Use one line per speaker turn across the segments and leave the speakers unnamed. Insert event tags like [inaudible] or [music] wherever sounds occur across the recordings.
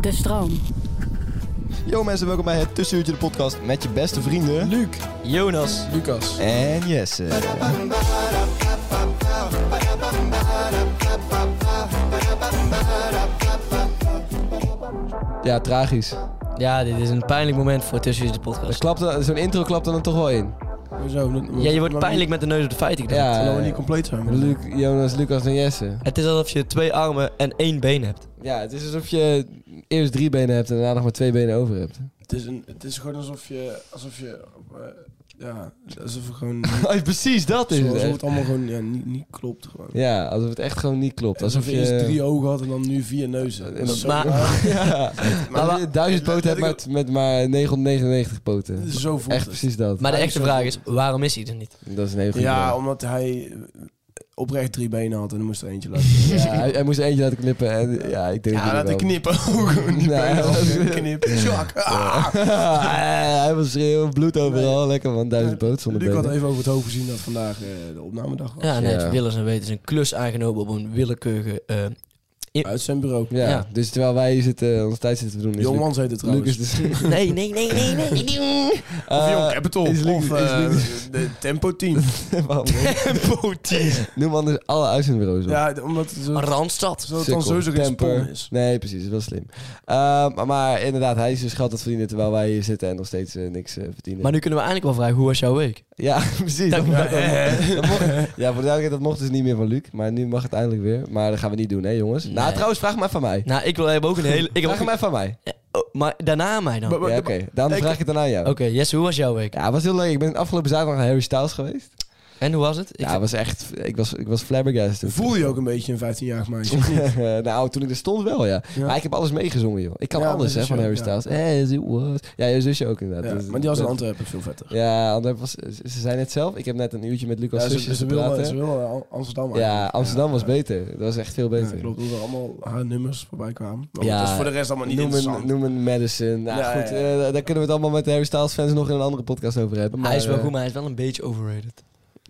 De stroom.
Yo mensen, welkom bij het Tussenuurtje de podcast met je beste vrienden... Luc, Jonas
Lucas.
en Jesse. Ja, tragisch.
Ja, dit is een pijnlijk moment voor tussen de
Er
podcast.
klapte- Zo'n intro klapt er dan toch wel in.
Hoezo? Dat-
Ja, je wordt
laat me-
pijnlijk met de neus op de feiten. Ik
Ja. eh,
ja.
Laten we niet compleet zijn.
Luc, Jonas, Lucas en Jesse.
Het is alsof je twee armen en één been hebt.
Ja, het is alsof je eerst drie benen hebt en daarna nog maar twee benen over hebt. [laughs]
Het is, een, het is gewoon alsof je... Alsof je eh, ja, alsof we
[laughs]
gewoon...
precies, dat is
alsof
het.
het
echt.
allemaal gewoon ja, niet, niet klopt. Gewoon.
Ja, alsof het echt gewoon niet klopt.
Alsof,
Alsof
je eerst
je...
drie ogen had en dan nu vier neuzen. Dat is zo
Maar-
raar.
Ja, maar je Nou, eh, duizend poten hebt met, met maar 999
Dat
poten.
is zo voelt
Echt
het.
precies dat.
Maar de
Hij
echte
is zo
vraag
goed.
Ah, is, waarom is hij er niet?
Dat is een hele goede vraag.
Ja, omdat hij eh, oprecht drie benen had en dan moest er eentje laten.
Ja, hij, hij moest er eentje laten knippen. En, [laughs] ja, ik denk
Ja,
dat
laten
ik wel-
knippen. Ook [laughs] gewoon die
Nee.
benen afknip. Tjak. Ah.
[laughs] hij was schreeuwen, bloed overal. Lekker man, duizend boot zonder
Luc had
benen.
even over het hoofd gezien dat vandaag eh, de opnamedag was.
Ja, nee,
Ja.
het Willens en Wetens een klus aangenomen op een willekeurige... eh, [laughs]
Uit zijn bureau.
Ja,
Ja.
dus terwijl wij hier zitten, onze tijd zitten te doen, is
Jongmans heet het
Luc,
trouwens.
Lucas dus...
nee, nee, nee, nee, nee.
[laughs]
[laughs]
Of
Eh,
Young Capital.
is Luc- dus
of
is
eh,
Luc-
de Tempo Team.
[laughs] waarom
[laughs]
niet?
Tempo Team.
Noem anders alle uitzendbureaus op.
Ja, d- omdat het zo,
Randstad.
zo, het
Sikkel,
dan sowieso geen
temper.
spon is.
Nee, precies. Wel slim. Eh, maar, maar inderdaad, hij is dus geld aan het verdienen terwijl wij hier zitten en nog steeds eh, niks eh, verdienen.
Maar nu kunnen we eigenlijk wel vragen, hoe was jouw week?
Ja, [laughs] precies. Dat,
Ja,
dat- dat
[laughs]
mocht, ja, voor de duidelijkheid, dat mocht dus niet meer van Luc. Maar nu mag het eindelijk weer. Maar dat gaan we niet doen, hè jongens. Nou,
Nee.
trouwens, vraag maar van mij.
Nou, ik wil hebben ook
[laughs]
een hele... Ik heb
vraag
ook-
hem even aan mij.
Oh, maar daarna aan mij dan.
Maar-
Oké,
maar-
Ja, oké. Dan
Ik-
vraag ik het dan aan jou.
Jesse, hoe was jouw week?
Ja, het was heel leuk. Ik ben afgelopen zaterdag naar Harry Styles geweest.
En hoe was het? Ik
ja, het was echt... Ik was, ik was flabbergasted.
Voel
[laughs]
je ook een beetje een 15-jarig meisje?
nou, toen ik er stond wel, ja.
Ja.
Maar ik heb alles meegezongen, joh. Ik kan
Ja,
alles, hè,
precies,
van
ja.
Harry
Ja.
Styles. Eh, as it was. Ja, je zusje ook
Ja,
inderdaad. Dus-
maar die was in
dat-
Antwerpen veel vetter.
Ja, Antwerp was, ze ze zei net zelf. Ik heb net een uurtje met Lucas
Ja, ze,
zusje
ze,
gepraat,
wilden,
hè.
ze wilden Al- Amsterdam
Ja,
eigenlijk.
Amsterdam
Ja,
was
ja.
beter. Dat was echt veel beter.
Ja, klopt, dat er allemaal haar nummers voorbij kwamen. Maar
Ja,
dat is voor de rest allemaal niet
noem, een,
interessant.
noem een Madison. Nou,
Ja,
goed,
ja,
eh, daar kunnen we het allemaal met de Harry Styles fans nog in een andere podcast over hebben. Maar,
hij is wel
eh, mm.
goed, maar hij is wel een beetje overrated.
[laughs]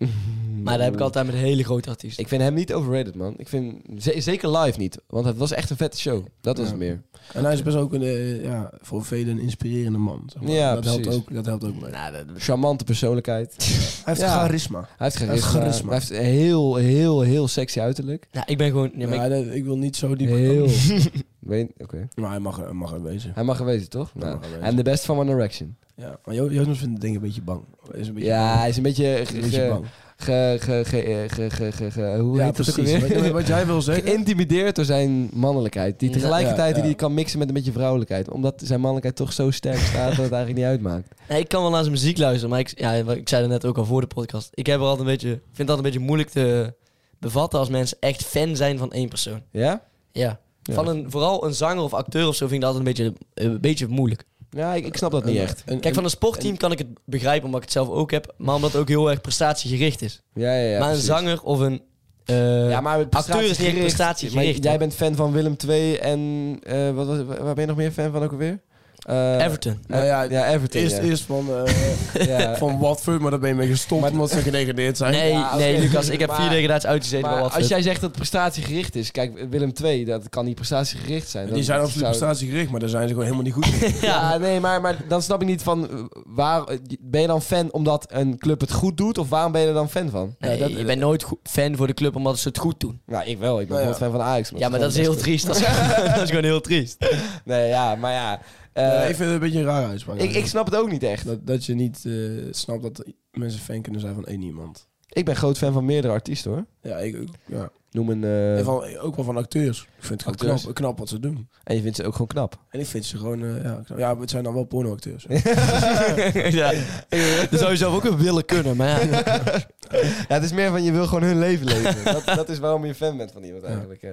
Maar daar heb ik altijd met hele grote artiesten.
Ik vind hem niet overrated, man. Ik vind ze- zeker live niet. Want het was echt een vette show. Dat was
Ja.
het meer.
En hij is best ook een, eh, ja, voor velen een inspirerende man. zeg maar.
Ja,
dat, helpt
precies.
ook, dat helpt ook mee.
Nou, dat-
Charmante persoonlijkheid. Hij
Hij heeft
Ja.
charisma.
heeft
Hij heeft
charisma. Hij heeft,
charisma.
een heel, heel, heel sexy uiterlijk.
nou, ik ben gewoon... ja, maar ik-
Ja, dat- ik wil niet zo diep...
Heel.
[laughs]
Weet, oké.
Maar hij mag, er- hij mag er wezen.
Hij mag er wezen, toch?
Hij
Nou,
mag er wezen.
En de best van One Direction.
Ja, maar Jo- Jonas vindt het denk ik een beetje bang. Is een beetje
Ja,
bang.
hij is eh, een beetje...
Is
Ge,
een beetje bang.
ge- ge- ge- eh, ge- ge- ge- ge- hoe
ja,
heet het ook
precies.
alweer?
Wat, wat jij wil zeggen...
Geïntimideerd door zijn mannelijkheid. Die
Ja,
tegelijkertijd
ja, ja.
Die die kan mixen met een beetje vrouwelijkheid. Omdat zijn mannelijkheid toch zo sterk staat dat het eigenlijk niet uitmaakt.
Nee, ik kan wel naar zijn muziek luisteren, maar ik, ja, wat ik zei dat net ook al voor de podcast. Ik heb er altijd een beetje, vind het altijd een beetje moeilijk te bevatten als mensen echt fan zijn van één persoon.
Ja?
Ja.
Ja.
Van een, vooral een zanger of acteur of zo vind ik dat altijd een beetje, een beetje moeilijk.
Ja, ik, ik snap dat niet echt.
Een-
Kijk, van een sportteam kan ik het begrijpen, omdat ik het zelf ook heb. Maar omdat het ook heel erg prestatiegericht is.
Ja, ja, ja.
maar een
precies.
zanger of een... eh,
Ja, maar
acteur is niet echt
prestatiegericht.
prestatiegericht.
Maar jij bent fan van Willem II en eh, wat was, waar ben je nog meer fan van ook alweer? Eh,
Everton.
Nou ja,
ja, Everton.
Eerst,
ja.
eerst van,
[laughs]
eh,
[laughs]
Ja.
van Watford, maar daar ben je mee gestopt omdat ze gedegradeerd zijn.
Nee,
Ja,
nee,
oké.
Lucas, ik heb vier
Maar-
degradaties uitgezeten bij
Maar
Watford.
als jij zegt dat het prestatiegericht is, kijk, Willem II, dat kan niet prestatiegericht zijn.
Die
Dat-
zijn
dat
absoluut
zou-
prestatiegericht, maar daar zijn ze gewoon helemaal niet goed in.
[laughs]
Ja, nee, maar, maar dan snap ik niet van, eh, waar, eh, ben je dan fan omdat een club het goed doet, of waarom ben je er dan fan van?
Nee,
Ja, dat-
je bent nooit go- fan voor de club omdat ze het goed doen.
Nou, ik wel. Ik ben
Nou
wel
ja.
fan van Ajax.
ja, maar dat is heel triest. Dat is, [laughs] dat is gewoon heel triest.
Nee, ja, maar ja. [laughs] eh,
Ja, ik vind het een beetje een raar uitspraak.
ik, ik snap het ook niet echt.
dat, dat je niet eh, snapt dat mensen fan kunnen zijn van één iemand.
Ik ben groot fan van meerdere artiesten, hoor.
Ja, ik ook. Ja.
Noem een...
En
eh,
van, ook wel van acteurs. Ik vind het gewoon
Acteurs.
knap, knap wat ze doen.
en je vindt ze ook gewoon knap.
En ik vind ze gewoon... eh, ja, knap. ja, maar het zijn dan wel pornoacteurs.
[laughs] ja. Dat zou je zelf ook wel willen kunnen, maar ja.
[laughs] Ja, het is meer van, je wil gewoon hun leven [laughs] leven. dat, dat is waarom je fan bent van iemand, eigenlijk. eh.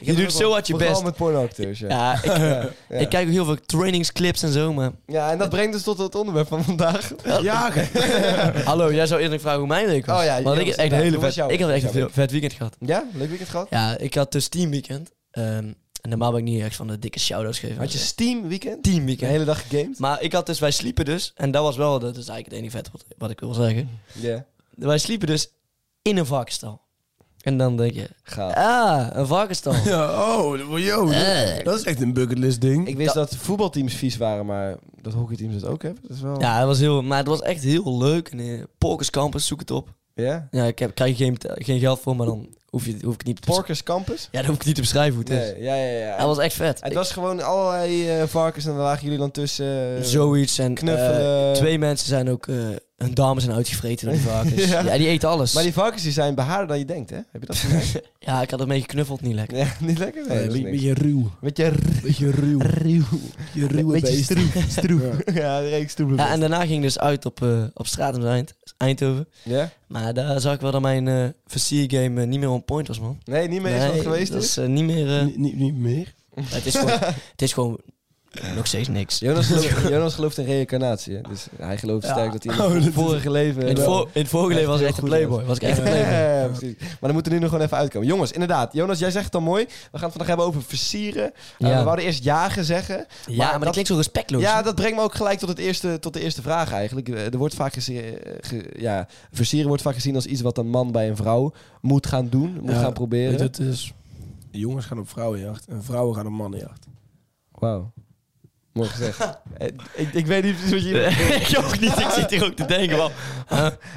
Je doet zo hard je
Vooral
best.
met pornoacteurs, ja.
Ja, [laughs] ik, eh,
Ja.
ik kijk ook heel veel trainingsclips en zo, [laughs] maar...
Ja, en dat brengt dus tot het onderwerp van vandaag. [laughs]
Jagen!
Hallo, jij zou eerlijk vragen hoe mijn week was.
Oh ja,
Want ik,
Jonas,
echt een
ja,
hele
hoe
vet,
was jouw
ik had echt
week?
een veel- vet weekend gehad.
Ja, leuk weekend gehad.
Ja, ik had dus teamweekend. Ehm en normaal ben ik niet echt van de dikke shout-outs geven.
Had je Steam weekend? De
teamweekend?
hele dag gegamed?
Maar ik had dus, wij sliepen dus, en dat was wel, dat is eigenlijk het enige vet wat, wat ik wil zeggen.
Ja.
Wij sliepen dus in een varkenstal. En dan denk je,
Gaaf.
ah, een varkenstal.
[laughs] Ja, oh, dat- yo, dat, dat is echt een bucketlist ding.
Eh. Ik wist dat voetbalteams vies waren, maar dat hockeyteams dat ook hebben. Dat is wel...
ja, het was heel, maar het was echt heel leuk. En, eh, Porkers Campus, zoek het op.
ja?
Ja, ik heb, krijg je geen, geen geld voor, maar dan hoef, je, hoef ik niet te bes-
Porkers Campus?
Ja, dan hoef ik niet te beschrijven hoe het is.
Nee, ja, ja, ja.
Dat was echt vet.
Het was gewoon allerlei eh, varkens en daar lagen jullie dan tussen. eh,
Zoiets. En
knuffelen.
eh, twee mensen zijn ook... eh hun dames zijn uitgevreten
[laughs]
door die varkens.
Ja.
ja. die eten alles.
Maar die varkens die zijn behaarder dan je denkt, hè? Heb je [laughs] dat gezien?
Ja, ik had ermee geknuffeld, niet lekker.
ja, niet lekker? Nee,
een
dat is
Eh, beetje,
niks.
beetje ruw.
Beetje r- [laughs]
Beetje ruw.
ruw.
Je ruwe
Beetje
beest.
stroef. stroef.
Ja.
Ja, de reeks stroef.
Ja, en daarna ging ik dus uit op, eh, op straat in Eind- Eindhoven.
Ja?
Maar daar zag ik wel dat mijn eh versiergame eh, niet meer on point was, man.
Nee, niet meer is dat geweest
dat
is.
is eh, niet meer... eh,
Niet- Niet, niet meer.
het, is
[laughs]
gewoon, het is gewoon nog steeds niks.
Jonas [laughs] gelooft, Jonas gelooft in reïncarnatie, hè? Dus hij gelooft
Ja.
sterk Oh, dat [laughs] hij in het vorige leven...
In het, voor, in het vorige leven was ik echt een playboy. Was ik echt een playboy.
Ja, [laughs] precies. Maar dan moeten we nu nog gewoon even uitkomen. Jongens, inderdaad. Jonas, jij zegt het al mooi. We gaan het vandaag hebben over versieren. Eh,
Ja.
we wouden eerst jagen zeggen.
Ja, maar, dat klinkt zo respectloos.
Ja, dat brengt me ook gelijk tot, het eerste, tot de eerste vraag eigenlijk. Eh, Er wordt vaak gezien, eh, ge- ja, versieren wordt vaak gezien als iets wat een man bij een vrouw moet gaan doen. Moet
Ja,
gaan
Weet je,
proberen.
het is... Jongens gaan op vrouwenjacht en vrouwen gaan op mannenjacht.
Wauw. Mooi
[laughs]
gezegd. Eh, ik, ik weet niet precies wat je...
[laughs] ik ook niet. Ik zit hier ook te denken van...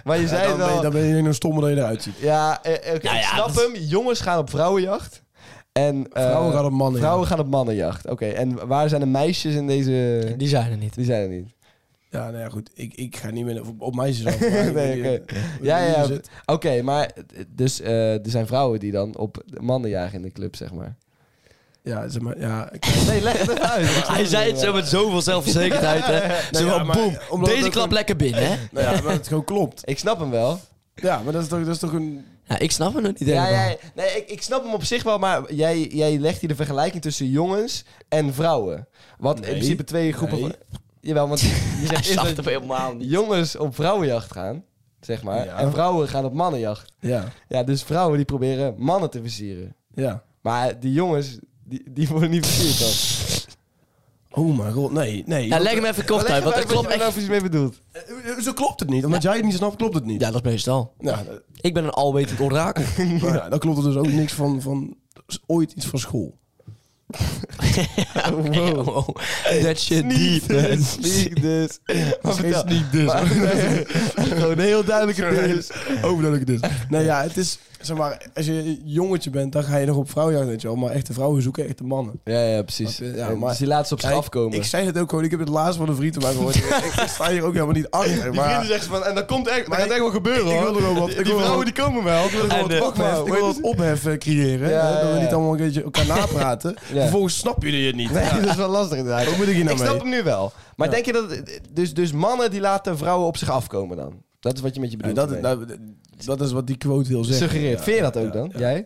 Maar je
Ja,
zei
dan,
het
ben
wel.
je, dan ben je denk ik nog stommer dan je eruit ziet.
Ja, eh, eh, oké,
Nou
ik
ja,
snap
dat-
hem. Jongens gaan op vrouwenjacht. En, eh,
Vrouwen gaan op mannen.
Vrouwen gaan op mannenjacht. Oké, en waar zijn de meisjes in deze...
Die zijn er niet.
Die zijn er niet.
Ja, nou ja, goed. Ik, ik ga niet meer op, op meisjes
[laughs]
af.
Nee, oké. Ja, ja. Oké, maar eh, dus, eh, er zijn vrouwen die dan op de mannen jagen in de club, zeg maar.
Ja, zeg maar, ja. ik-
Nee, leg het
[laughs]
uit.
Hij zei het zo met zoveel zelfverzekerdheid, hè. Zo
ja,
van,
maar
boem,
omdat het
deze
ook
klap
een-
lekker binnen, hè.
[laughs] Nou ja, maar het gewoon klopt.
Ik snap hem wel.
Ja, maar dat is toch, dat is toch een...
Ja, ik snap het nog niet
Ja,
[laughs] helemaal.
jij, nee, ik, ik snap hem op zich wel, maar jij, jij legt hier de vergelijking tussen jongens en vrouwen. Wat in
Nee.
principe twee groepen...
Nee.
van-
[laughs]
Jawel, want je
Hij
zegt
snapt
eerst
hem
dat
helemaal niet.
jongens op vrouwenjacht gaan, zeg maar.
Ja.
En vrouwen gaan op mannenjacht.
Ja,
Ja, dus vrouwen die proberen mannen te versieren.
ja.
Maar die jongens, die, die worden niet versierd dan.
Oh mijn god, nee, nee.
Ja, leg hem even kort uit, want dat klopt
Wat je er nou
echt.
precies mee bedoelt.
Eh, Zo klopt het niet. Omdat jij het niet snapt, klopt het niet.
Ja, dat is meestal.
Nou, dat-
Ik ben een alwetend orakel. [laughs]
nou ja, dan klopt er dus ook niks van, van s- ooit iets van school.
wow. That shit
Niet
deep, man.
dus,
[laughs]
niet dus.
Dat is
vertel.
niet dus.
Maar- [laughs] Gewoon heel duidelijke dus.
[laughs] Overduidelijk dus. Nee, ja, het is... Zeg maar, als je een jongetje bent, dan ga je nog op vrouwenjacht, weet je wel. Maar echte vrouwen zoeken echte mannen.
Ja, ja, precies.
Snap je? Ja,
Eh,
maar-
dus die laat ze op zich
Kijk,
afkomen.
Ik zei het ook gewoon. Ik heb het laatst van een vriend van mij
[laughs]
gehoord. ik, ik sta hier ook helemaal niet achter. Maar
zeggen van, en dat komt echt,
Maar ik-
wel gebeuren
ik wil er wel wat- ik wil er wel-
die komen wel.
ik wil
En, eh,
wat ophef, ik wil wat ophef eh, creëren.
Ja,
hè, dat
ja,
we
ja.
niet allemaal een beetje elkaar napraten. Vervolgens snap jullie het niet.
Nee,
Ja.
dat is wel lastig inderdaad.
Hoe moet ik hier nou
Ik snap
mee?
hem nu wel. Maar
Ja.
denk je dat... Dus, dus mannen die laten vrouwen op zich afkomen dan? Dat is wat je met je
Ja,
bedoelt.
dat,
ermee.
nou, dat is wat die quote wil zeggen.
Suggereert.
Ja,
Vind je dat
ja,
ook dan?
ja.
Jij? [laughs]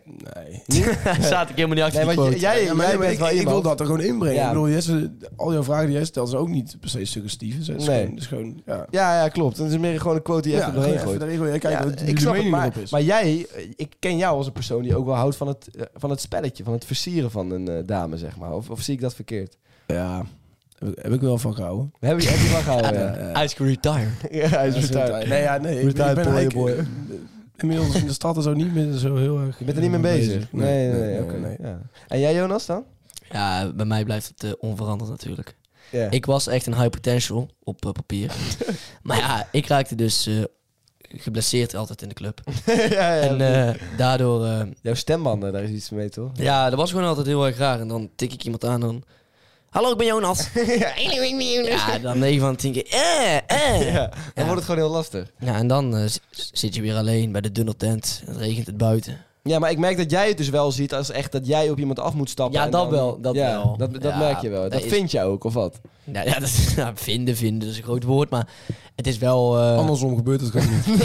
Nee.
[laughs] Daar zat ik helemaal niet achter
Nee,
die
want j-
quote.
jij, jij
Ja, maar nee, maar
bent
ik,
wel
ik
iemand...
wil dat er gewoon inbrengen.
Ja.
Ik bedoel, Jesse, al jouw vragen die jij stelt zijn ook niet per se suggestief. Het is
Nee.
gewoon- het is gewoon, ja.
Ja, ja, klopt. Het is meer gewoon een quote die je even doorheen gooit.
erin gooien. Kijk,
Ja,
wat
ik snap het,
mening
maar,
erop is.
maar jij, eh, ik ken jou als een persoon die ook wel houdt van het, eh, van het spelletje, van het versieren van een eh, dame, zeg maar. Of, of zie ik dat verkeerd?
ja, Heb ik, heb ik wel van gehouden.
We hebben je echt
[laughs]
wel gehouden.
Ja,
ja.
ja.
Ice Cream Retire.
Ja, hij is
Ja,
retired.
Nee, ja, nee. Ik, ik
Retired
ben eigenlijk,
playboy.
eh, inmiddels in de stad en zo niet meer zo heel erg...
Je bent er niet mee bezig. Nee, nee, nee. oké.
nee.
Ja. En jij, Jonas, dan?
Ja, bij mij blijft het eh, onveranderd natuurlijk.
Ja.
Ik was echt een high potential op eh, papier. maar ja, ik raakte dus eh, geblesseerd altijd in de club.
ja, [laughs] ja,
en eh, daardoor... eh,
Jouw stembanden, daar is iets mee, toch?
ja, dat was gewoon altijd heel erg raar. En dan tik ik iemand aan en dan... Hallo, ik ben Jonas. [laughs] ja, dan 9 van de 10 keer... Eh, eh.
Ja, dan wordt het gewoon heel lastig.
Ja, en dan eh, z- zit je weer alleen bij de dunne tent. Het regent het buiten.
Ja, maar ik merk dat jij het dus wel ziet als echt dat jij op iemand af moet stappen.
Ja,
en
dat
dan-
wel, dat
ja,
wel.
Dat, dat
Ja,
merk je wel. Dat
dat is-
vind je ook, of [laughs] wat?
Nou ja, [laughs] dat is, nou, vinden, vinden is een groot woord, maar het is wel... eh, [laughs]
Andersom gebeurt
[laughs]
het gewoon niet.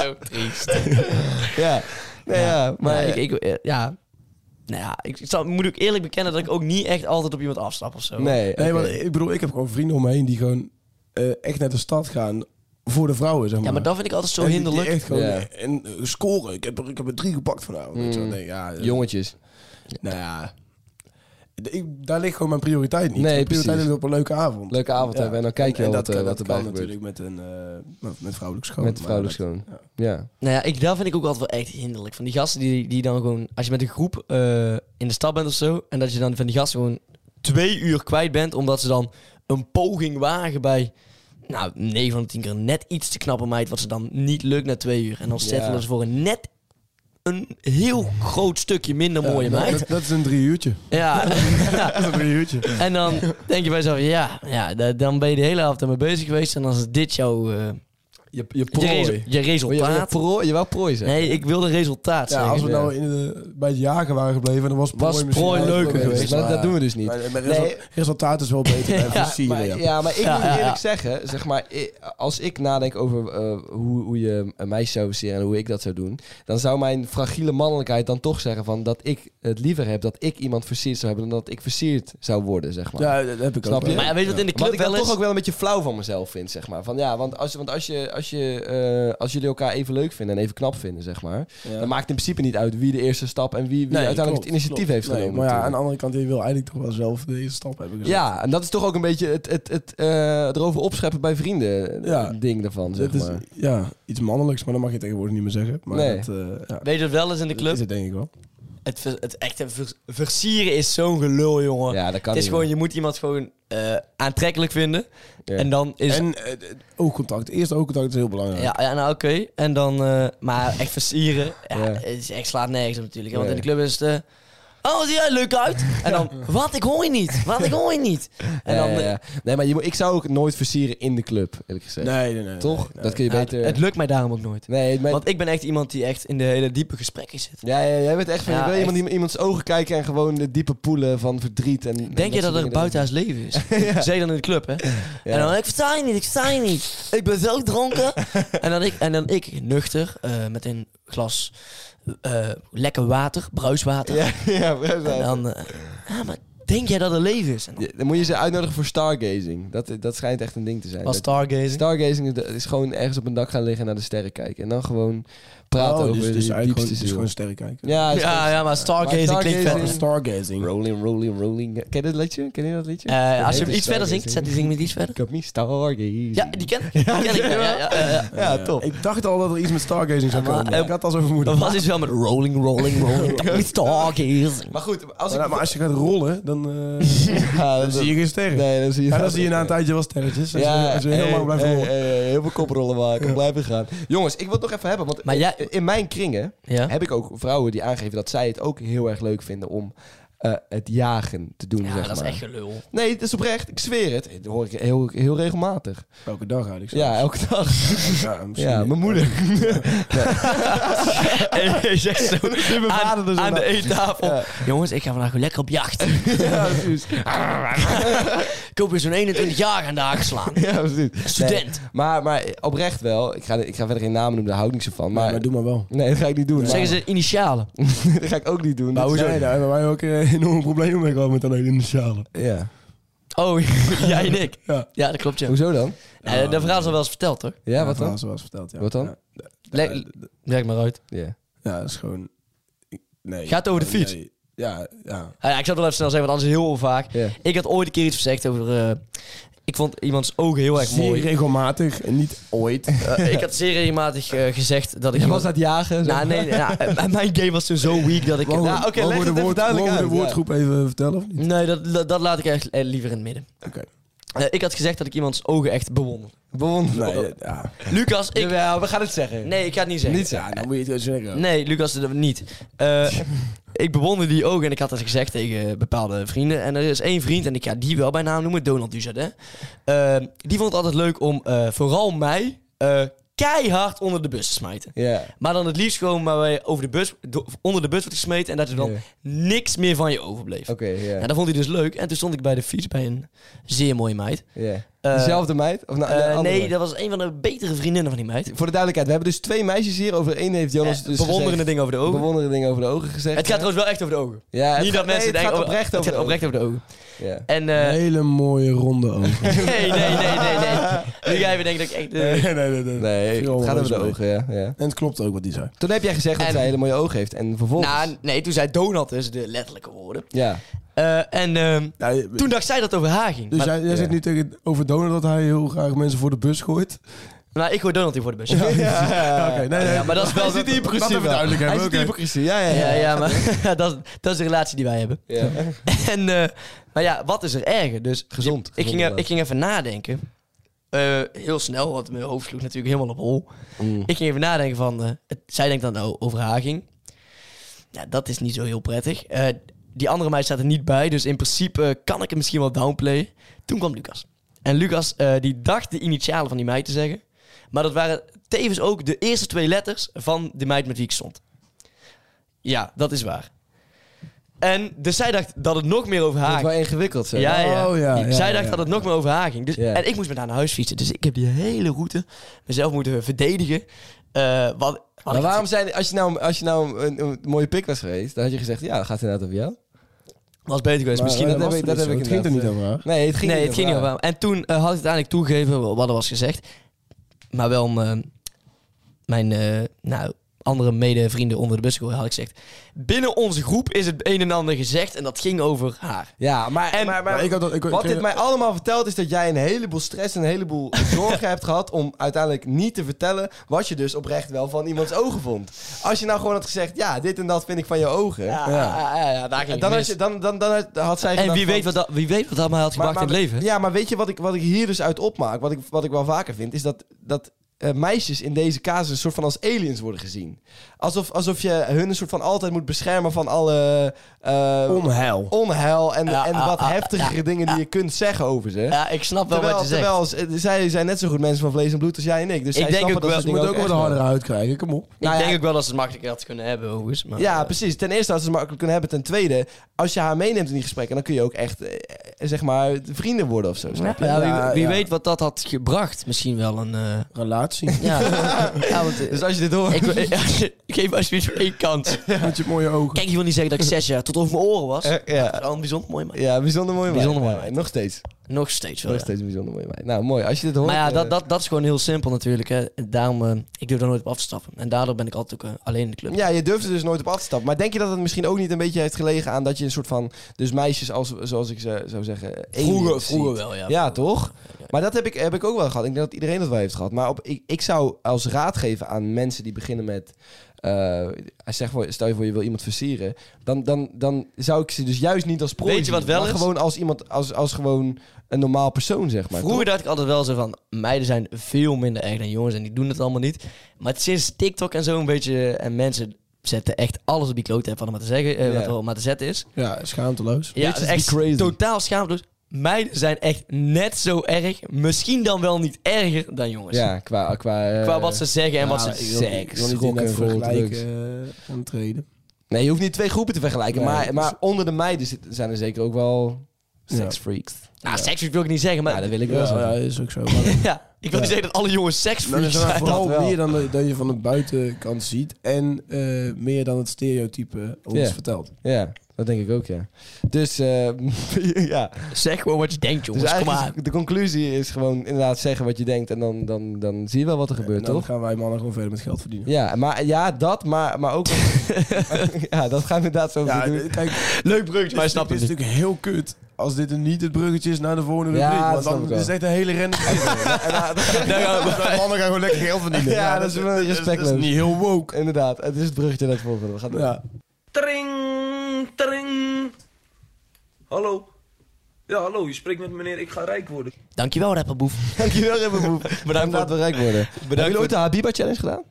zo triest.
Ja, nee, ja. maar
Maar ik, ik, eh, ja. Nou ja, ik, ik zal, moet ook eerlijk bekennen dat ik ook niet echt altijd op iemand afstap of zo.
Nee,
Nee,
oké.
maar ik bedoel, ik heb gewoon vrienden om me heen die gewoon eh, echt naar de stad gaan voor de vrouwen, zeg maar.
Ja, maar dat vind ik altijd zo
En die-
hinderlijk.
die echt gewoon,
Ja.
En eh, scoren. Ik heb, er, ik heb er drie gepakt vanavond. Weet je wel.
Mm.
Nee, ja, eh,
jongetjes.
Nou ja. D- Ik, daar ligt gewoon mijn prioriteit niet.
Nee,
mijn prioriteit
precies.
ligt op een leuke avond.
Leuke avond
Ja.
hebben en dan kijk je
en,
wel
dat,
wat, eh, wat
dat
erbij
kan
gebeurt.
natuurlijk met een eh, met, met vrouwelijk schoon.
Met vrouwelijk
maar
schoon. Ja.
Nou ja, ik, dat vind ik ook altijd wel echt hinderlijk. Van die gasten die, die dan gewoon... Als je met een groep eh, in de stad bent of zo... En dat je dan van die gasten gewoon twee uur kwijt bent... Omdat ze dan een poging wagen bij... Nou, 9 van de 10 keer net iets te knappe meid... Wat ze dan niet lukt na twee uur. En dan settelen
Ja.
ze voor een net... Een heel groot stukje minder
dat-
mooie
ja,
meid.
Dat, dat is een drie uurtje.
Ja. [laughs] ja.
Dat is een drie uurtje.
En dan denk je bij jezelf, ja, ja da- dan ben je de hele avond ermee bezig geweest. En dan is dit jouw... eh,
Je,
je,
je
resu- je
Maar je, je,
resultaat.
Oh, prooi- je wou prooi zeggen.
Nee, ik wilde resultaat
Ja,
zeggen.
als we
Ja.
nou in de, bij het jagen waren gebleven, dan was prooi,
Was
misschien
prooi
wel
leuker
geweest,
geweest,
Maar
maar-
dat doen we dus niet.
Maar, maar
Nee.
resul- resultaat is wel beter bij
Ja,
versieren,
Maar,
ja.
[laughs] ja, maar ik
Ja,
moet
ja,
eerlijk
ja.
zeggen, zeg maar, eh, als ik nadenk over eh, hoe, hoe je een meisje zou versieren en hoe ik dat zou doen, dan zou mijn fragiele mannelijkheid dan toch zeggen van dat ik het liever heb dat ik iemand versierd zou hebben dan dat ik versierd zou worden, zeg maar.
Ja, dat heb ik
Snap
ook. wel.
je?
Maar ja, weet je wat in de
Wat
club
ik dan
wel is?
toch ook wel een beetje flauw van mezelf vind, zeg maar. Van ja, want als, want als, je, als, je, eh, als jullie elkaar even leuk vinden en even knap vinden, zeg maar,
Ja.
dan maakt het in principe niet uit wie de eerste stap en wie, wie
Nee,
uiteindelijk
klopt,
het initiatief
klopt.
heeft
Nee,
genomen.
Maar ja,
natuurlijk.
aan de andere kant, je wil eigenlijk toch wel zelf de eerste stap hebben gezet.
Ja, en dat is toch ook een beetje het, het, het eh, erover opscheppen bij vrienden eh,
Ja.
ding daarvan, zeg
Dus Het is
maar.
ja, iets mannelijks, maar dat mag je tegenwoordig niet meer zeggen. Maar
Nee.
dat, eh, ja,
Weet je wat wel is in de
dat
club?
is het denk ik wel.
Het, ver- het echte ver- versieren is zo'n gelul, jongen.
Ja, dat kan
het is
niet.
gewoon, je moet iemand gewoon eh, aantrekkelijk vinden.
Ja.
En dan is...
En eh, eh, oogcontact. Eerst oogcontact is heel belangrijk.
ja, ja, nou oké. En dan... eh, maar echt versieren, ja,
Ja.
Het is echt slaat nergens op natuurlijk. hè, Want
Nee.
in de club is het... eh, Oh, wat zie jij leuk uit? En dan, wat? Ik hoor je niet. Wat? Ik hoor je niet. En
Ja,
dan,
ja,
eh,
ja. Nee, maar je, moet- ik zou ook nooit versieren in de club, eerlijk gezegd.
Nee, nee, nee.
Toch?
nee, nee.
Dat kun je
Ja,
beter...
Het lukt mij daarom ook nooit.
nee, maar...
Want ik ben echt iemand die echt in de hele diepe gesprekken zit.
Ja, ja, jij bent echt van,
Ja,
je wil
echt.
iemand in iemands ogen kijken en gewoon de diepe poelen van verdriet en... en
Denk je dat
soort
er een
dingen.
buitenhuis leven is? [laughs] Zeker dan in de club, hè? En dan, ik versta je niet, ik versta je niet. Ik ben zo [laughs] dronken. en, dan ik, en dan ik, nuchter, eh, met een glas eh, lekker water, bruiswater.
Ja, [laughs] ja, precies.
En dan, eh, ja, maar denk jij dat er leven is? En dan
Ja, dan moet je ze uitnodigen voor stargazing. Dat, dat schijnt echt een ding te zijn.
was
Dat-
stargazing.
stargazing is- is gewoon ergens op een dak gaan liggen en naar de sterren kijken. En dan gewoon
Oh,
praten over
dus, dus
je
eigenlijk
diepste
gewoon, dus
ziel.
gewoon sterren kijken.
Ja, is gewoon-
ja, ja, maar stargazing
Maar
klinkt
stargazing-
vet.
Star- Stargazing.
Rolling, rolling, rolling. Ken je dat liedje? Ken je dat liedje?
Eh, als je hem iets
Heet
verder
stargazing.
zingt, zet die zing met iets verder.
Ik heb me stargazing. Oh,
Ja, die ken ik. Die ken ik. [laughs] Ja, ja, ja, ja, [laughs] ja.
Ja, top.
Ik dacht al dat er iets met stargazing zou
Ja, maar,
komen.
eh,
ik had al zo vermoed.
Dat was iets wel met [laughs] rolling, rolling, [laughs] rolling. Met stargazing.
Maar goed, als ik...
Maar, maar als je gaat rollen, dan,
[laughs]
eh,
Ja,
dan
dat-
zie je geen sterren.
Nee, dan zie je...
Ja, dan zie je na een tijdje wel sterretjes. Als, je, als je heel
hey,
lang blijft
hey,
rollen.
hey, hey, heel veel koprollen maken, blijven gaan. Jongens, ik wil het nog even hebben, want
Maar jij-
in mijn kringen
Ja?
heb ik ook vrouwen die aangeven dat zij het ook heel erg leuk vinden om eh, het jagen te doen,
Ja,
zeg
dat is
maar.
echt gelul. [laughs]
Nee, dat is oprecht, ik zweer het. Dat hoor ik heel, heel regelmatig.
Elke dag eigenlijk. zo.
Ja, elke dag.
ja, misschien.
Ja, mijn
[laughs]
moeder. [laughs]
Hij zegt zo aan,
dus
aan
inderdaad.
de eettafel.
Ja.
Jongens, ik ga vandaag weer lekker op jacht.
ja, precies.
ik hoop weer zo'n 21 jaar aan de haak slaan.
Ja, precies. Nee,
Student.
maar, maar oprecht wel, ik ga, ik ga verder geen namen noemen, daar hou ik niet zo van.
Maar,
Maar,
maar doe maar wel.
Nee, dat ga ik niet doen.
Zeggen ze initialen.
Maar- [laughs] dat ga ik ook niet doen.
Maar
Dat-
hoezo? Nee, daar hebben wij ook eh, enorme problemen mee gehad met dat hele initialen.
nou, Ja.
Oh, [laughs] jij en ik.
Ja.
Ja, dat klopt, ja.
Hoezo dan?
Nee, dat verhaal is al wel eens verteld, toch?
Ja, wat dan?
Zoals verteld, ja.
Wat dan?
Ja.
Leg, leg maar uit.
Ja.
Ja, dat is gewoon... ik- Nee.
Gaat het over de fiets?
Nee. ja, ja.
Ah ja, ik zou het wel even snel zeggen, want anders is het heel vaak.
Ja.
Ik had ooit een keer iets gezegd over... eh, ik vond iemands ogen heel erg
Zeer
mooi.
regelmatig en niet ooit.
Eh, [laughs] ik had zeer regelmatig eh, gezegd dat ik...
Je was
iemand-
dat jagen? zo?
Nou, nee, nee,
[laughs]
nou, eh, mijn game was toen zo weak dat ik...
Mogen we-
nou, oké, leg
mogen we de
het even
woord-
duidelijk
mogen we
uit.
de woordgroep even vertellen of niet?
Nee, dat, dat, dat laat ik echt eh, liever in het midden.
Oké.
Eh, ik had gezegd dat ik iemands ogen echt bewonder.
Bewonder.
Nee, ja.
Lucas, ik...
Jawel, we gaan het zeggen.
Nee, ik ga het niet zeggen.
Niet zeggen.
dan moet je het wel zeggen.
Nee, Lucas, dat niet. Eh, ik bewonder die ogen en ik had dat gezegd tegen bepaalde vrienden. En er is één vriend, en ik ga die wel bij naam noemen, Donald Duzet. Eh, die vond het altijd leuk om eh, vooral mij eh, keihard onder de bus te smijten.
Ja.
Maar dan het liefst gewoon maar wij over de bus, do- onder de bus wordt gesmeten en dat er dan
Ja.
niks meer van je overbleef.
Oké,
En
ja.
dat vond hij dus leuk. En toen stond ik bij de fiets bij een zeer mooie meid.
ja.
Eh,
Dezelfde meid? Of nou,
eh,
een andere
nee,
meid?
dat was een van de betere vriendinnen van die meid.
Voor de duidelijkheid, we hebben dus twee meisjes hier. Over één heeft Jonas
Eh,
dus
bewonderende dingen over de
gezegd,
ogen.
bewonderende dingen over de ogen gezegd.
Het gaat trouwens wel echt over de ogen.
ja, het
niet
gaat-
dat mensen
nee,
denken...
het
oh,
gaat oprecht
het
over
gaat
de
oprecht over de ogen.
ogen. Ja.
En, eh,
Hele mooie ronde ogen.
[laughs] nee, nee, nee, nee, nee.
[laughs]
Nu ga je weer denken dat ik echt... eh,
nee, nee.
Nee,
Veel
het gaat over de
mee.
ogen, ja. ja.
En het klopt ook wat die zei.
Toen heb jij gezegd dat
En-
zij hele mooie ogen heeft. En vervolgens...
Nou, nee, toen zei Donald dus de letterlijke woorden. [laughs]
ja.
Eh, en ehm,
Ja, je-
toen dacht zij dat het over haar ging.
dus
maar,
jij, jij zegt nu tegen over Donald dat hij heel graag mensen voor de bus gooit.
maar ik gooi Donald hier voor de bus.
Ja, oké. Nee, nee.
Ja, maar dat is wel...
[laughs] Hij zit in hypocrisie
Laat even
wel.
duidelijk
Hij
hebben,
zit in
oké.
hypocrisie, ja, ja, ja.
ja, ja, maar [laughs] dat, is- dat is de relatie die wij hebben.
Ja.
[laughs] En, eh, maar ja, wat is er erger? Dus
Gezond,
Ik ging,
gezond
ik ging even nadenken. Eh, heel snel, want mijn hoofd sloeg natuurlijk helemaal op hol.
Mm.
Ik ging even nadenken van... eh, het, zij denkt dat nou over haar ging. Ja, dat is niet zo heel prettig. Eh, die andere meid staat er niet bij. Dus in principe kan ik hem misschien wel downplayen. Toen kwam Lucas. En Lucas eh, die dacht de initialen van die meid te zeggen. Maar dat waren tevens ook de eerste twee letters van de meid met wie ik stond. Ja, dat is waar. En dus zij dacht dat het nog meer over
Dat
haar
is wel ingewikkeld, zo.
ja, ja.
Oh, ja, ja,
Zij dacht
ja.
dat het nog meer over haar ging. Dus,
Ja.
En ik moest met haar naar huis fietsen. Dus ik heb die hele route mezelf moeten verdedigen. Eh, wat, wat ik-
Maar waarom zijn... Als je nou, als je nou een, een mooie pik was geweest, dan had je gezegd... Ja, dat gaat inderdaad over jou.
was beter geweest?
Maar,
misschien
eh,
dat
was
heb ik-
het
dat
niet
heb ik
zo. Het ging er niet over haar.
Nee, het ging
nee,
niet
het ging niet over haar. En toen eh, had ik uiteindelijk toegegeven wat er was gezegd. Maar wel om eh, mijn eh, nou, andere medevrienden onder de bus te gooien, had ik gezegd. Binnen onze groep is het een en ander gezegd. En dat ging over haar.
Ja, maar,
En-
maar, maar,
Maar ik had dat, ik,
wat
ik-
dit mij allemaal vertelt is dat jij een heleboel stress en een heleboel zorgen hebt gehad om uiteindelijk niet te vertellen wat je dus oprecht wel van iemands ogen vond. Als je nou gewoon had gezegd, ja, dit en dat vind ik van je ogen.
Ja, ja, ja, daar ging
Dan,
het
had je,
mis.
dan, dan, dan had- had zij
En
gedacht
wie
van-
weet, wat dat, wie weet wat dat mij had
Maar-
gebracht in
maar-
het leven.
Ja, maar weet je wat ik, wat ik hier dus uit opmaak? Wat ik, wat ik wel vaker vind, is dat, dat eh, meisjes in deze casus een soort van als aliens worden gezien. Alsof, alsof je hun een soort van altijd moet beschermen van alle eh,
onheil.
onheil en,
Ja,
en
ah,
wat
ah,
heftigere dingen die je kunt zeggen over ze.
Ja, ik snap wel
terwijl
wat je zegt.
terwijl ze- eh, zij zijn net zo goed mensen van vlees en bloed als jij en ik. Dus
Ik
zij
denk
snappen
ook
dat
wel-
soort
Je moet
dingen
ook wel de
echt
hardere huid krijgen, kom op.
ik
Nou ja,
denk ook wel dat ze het makkelijker had kunnen hebben, overigens. Maar,
Ja,
eh,
precies. Ten eerste als ze het makkelijk kunnen hebben. Ten tweede, als je haar meeneemt in die gesprekken, dan kun je ook echt, eh, eh, zeg maar, vrienden worden of zo.
Ja,
snap je?
ja, wie,
Ja,
wie
ja.
weet wat dat had gebracht. Misschien wel een... eh,
Relatie. [laughs]
ja. [laughs] ja, want... eh,
Dus als je dit hoort...
[laughs] ik, ik, geef alsjeblieft één kans.
Met je mooie ogen.
[laughs] Kijk, je wil niet zeggen dat ik zes jaar tot over mijn oren was.
Eh, ja.
Al een bijzonder mooi man.
Ja, bijzonder mooi meid.
Bijzonder mooi
Ja,
meid.
Nog steeds.
Nog steeds wel.
Nog
ja.
steeds een bijzonder mooi meid. Nou, mooi. Als je dit hoort...
Maar ja,
eh,
dat, dat, dat is gewoon heel simpel natuurlijk. Hè. Daarom, eh, ik durf daar nooit op af te stappen. En daardoor ben ik altijd ook eh, alleen in de club.
ja, je durft er dus nooit op af te stappen. Maar denk je dat het misschien ook niet een beetje heeft gelegen aan dat je een soort van... Dus meisjes, als, zoals ik ze zou zeggen...
vroeger,
aliens
vroeger
ziet?
wel, ja.
Ja, toch? Maar dat heb ik, heb ik ook wel gehad. Ik denk dat iedereen dat wel heeft gehad. Maar op, ik, ik zou als raad geven aan mensen die beginnen met... eh, zeg voor, stel je voor, je wil iemand versieren. Dan, dan, dan zou ik ze dus juist niet als prooi
Weet je wat
zien,
wel
maar
is?
gewoon als iemand, als, als gewoon een normaal persoon, zeg maar.
Vroeger dacht ik altijd wel zo van, meiden zijn veel minder erg dan jongens en die doen het allemaal niet. Maar sinds TikTok en zo een beetje, eh, en mensen zetten echt alles op die klote app, wat er maar te zeggen, eh,
Ja.
wat er maar te zetten is.
Ja, schaamteloos.
Ja, het
Bitches
is
be
echt
crazy.
totaal schaamteloos. Meiden zijn echt net zo erg, misschien dan wel niet erger dan jongens.
Ja, qua... Qua, eh,
Qua wat ze zeggen en wat
Ja,
ze
ik wil- ik wil
seks.
niet in
rock
dat
and roll,
vergelijken eh, gaan treden.
Nee, je hoeft niet twee groepen te vergelijken.
Nee,
maar,
dus-
maar onder de meiden zit- zijn er zeker ook wel
Ja.
seksfreaks.
Nou, seks wil ik niet zeggen, maar... [laughs]
Ja, dat wil ik
Ja,
wel zeggen.
ja, is ook zo. Maar
Ja. Ik wil
Ja.
niet zeggen dat alle jongens
Dan
seksfreaks
is er
zijn.
vooral
dat wel.
meer dan dat dat je van de buitenkant ziet. En eh, meer dan het stereotype ons
Ja.
vertelt.
Ja, dat denk ik ook, ja. Dus eh, [laughs] ja,
Zeg gewoon wat je denkt,
dus
jongens. Kom maar.
eigenlijk de conclusie is gewoon inderdaad zeggen wat je denkt en dan, dan, dan zie je wel wat er gebeurt,
En dan
toch?
gaan wij mannen gewoon verder met geld verdienen.
Ja, maar, ja, dat, maar, maar ook... [laughs] ja, dat gaan we inderdaad zo
Ja,
doen.
d- kijk,
Leuk bruggetje, maar je snapt
het
het
is [laughs]
niet.
natuurlijk heel kut als dit een niet het bruggetje is naar de volgende
Ja,
rubriek.
dat
Want
snap
dan
ik
is
wel.
het echt een hele
[laughs]
rende
Daar gaan we.
mannen gaan gewoon lekker geld verdienen.
Ja, dat is wel respectloos.
Dat is niet heel woke.
Inderdaad, het is het bruggetje dat volgende. We gaan door.
Ja.
Tring, tring. Hallo. Ja, hallo, je spreekt met meneer Ik ga rijk worden.
Dankjewel, rapperboef.
Dankjewel,
[laughs]
Ribbenboef. Bedankt
voor-
dat we rijk worden. Hebben jullie ooit de Habiba Challenge gedaan?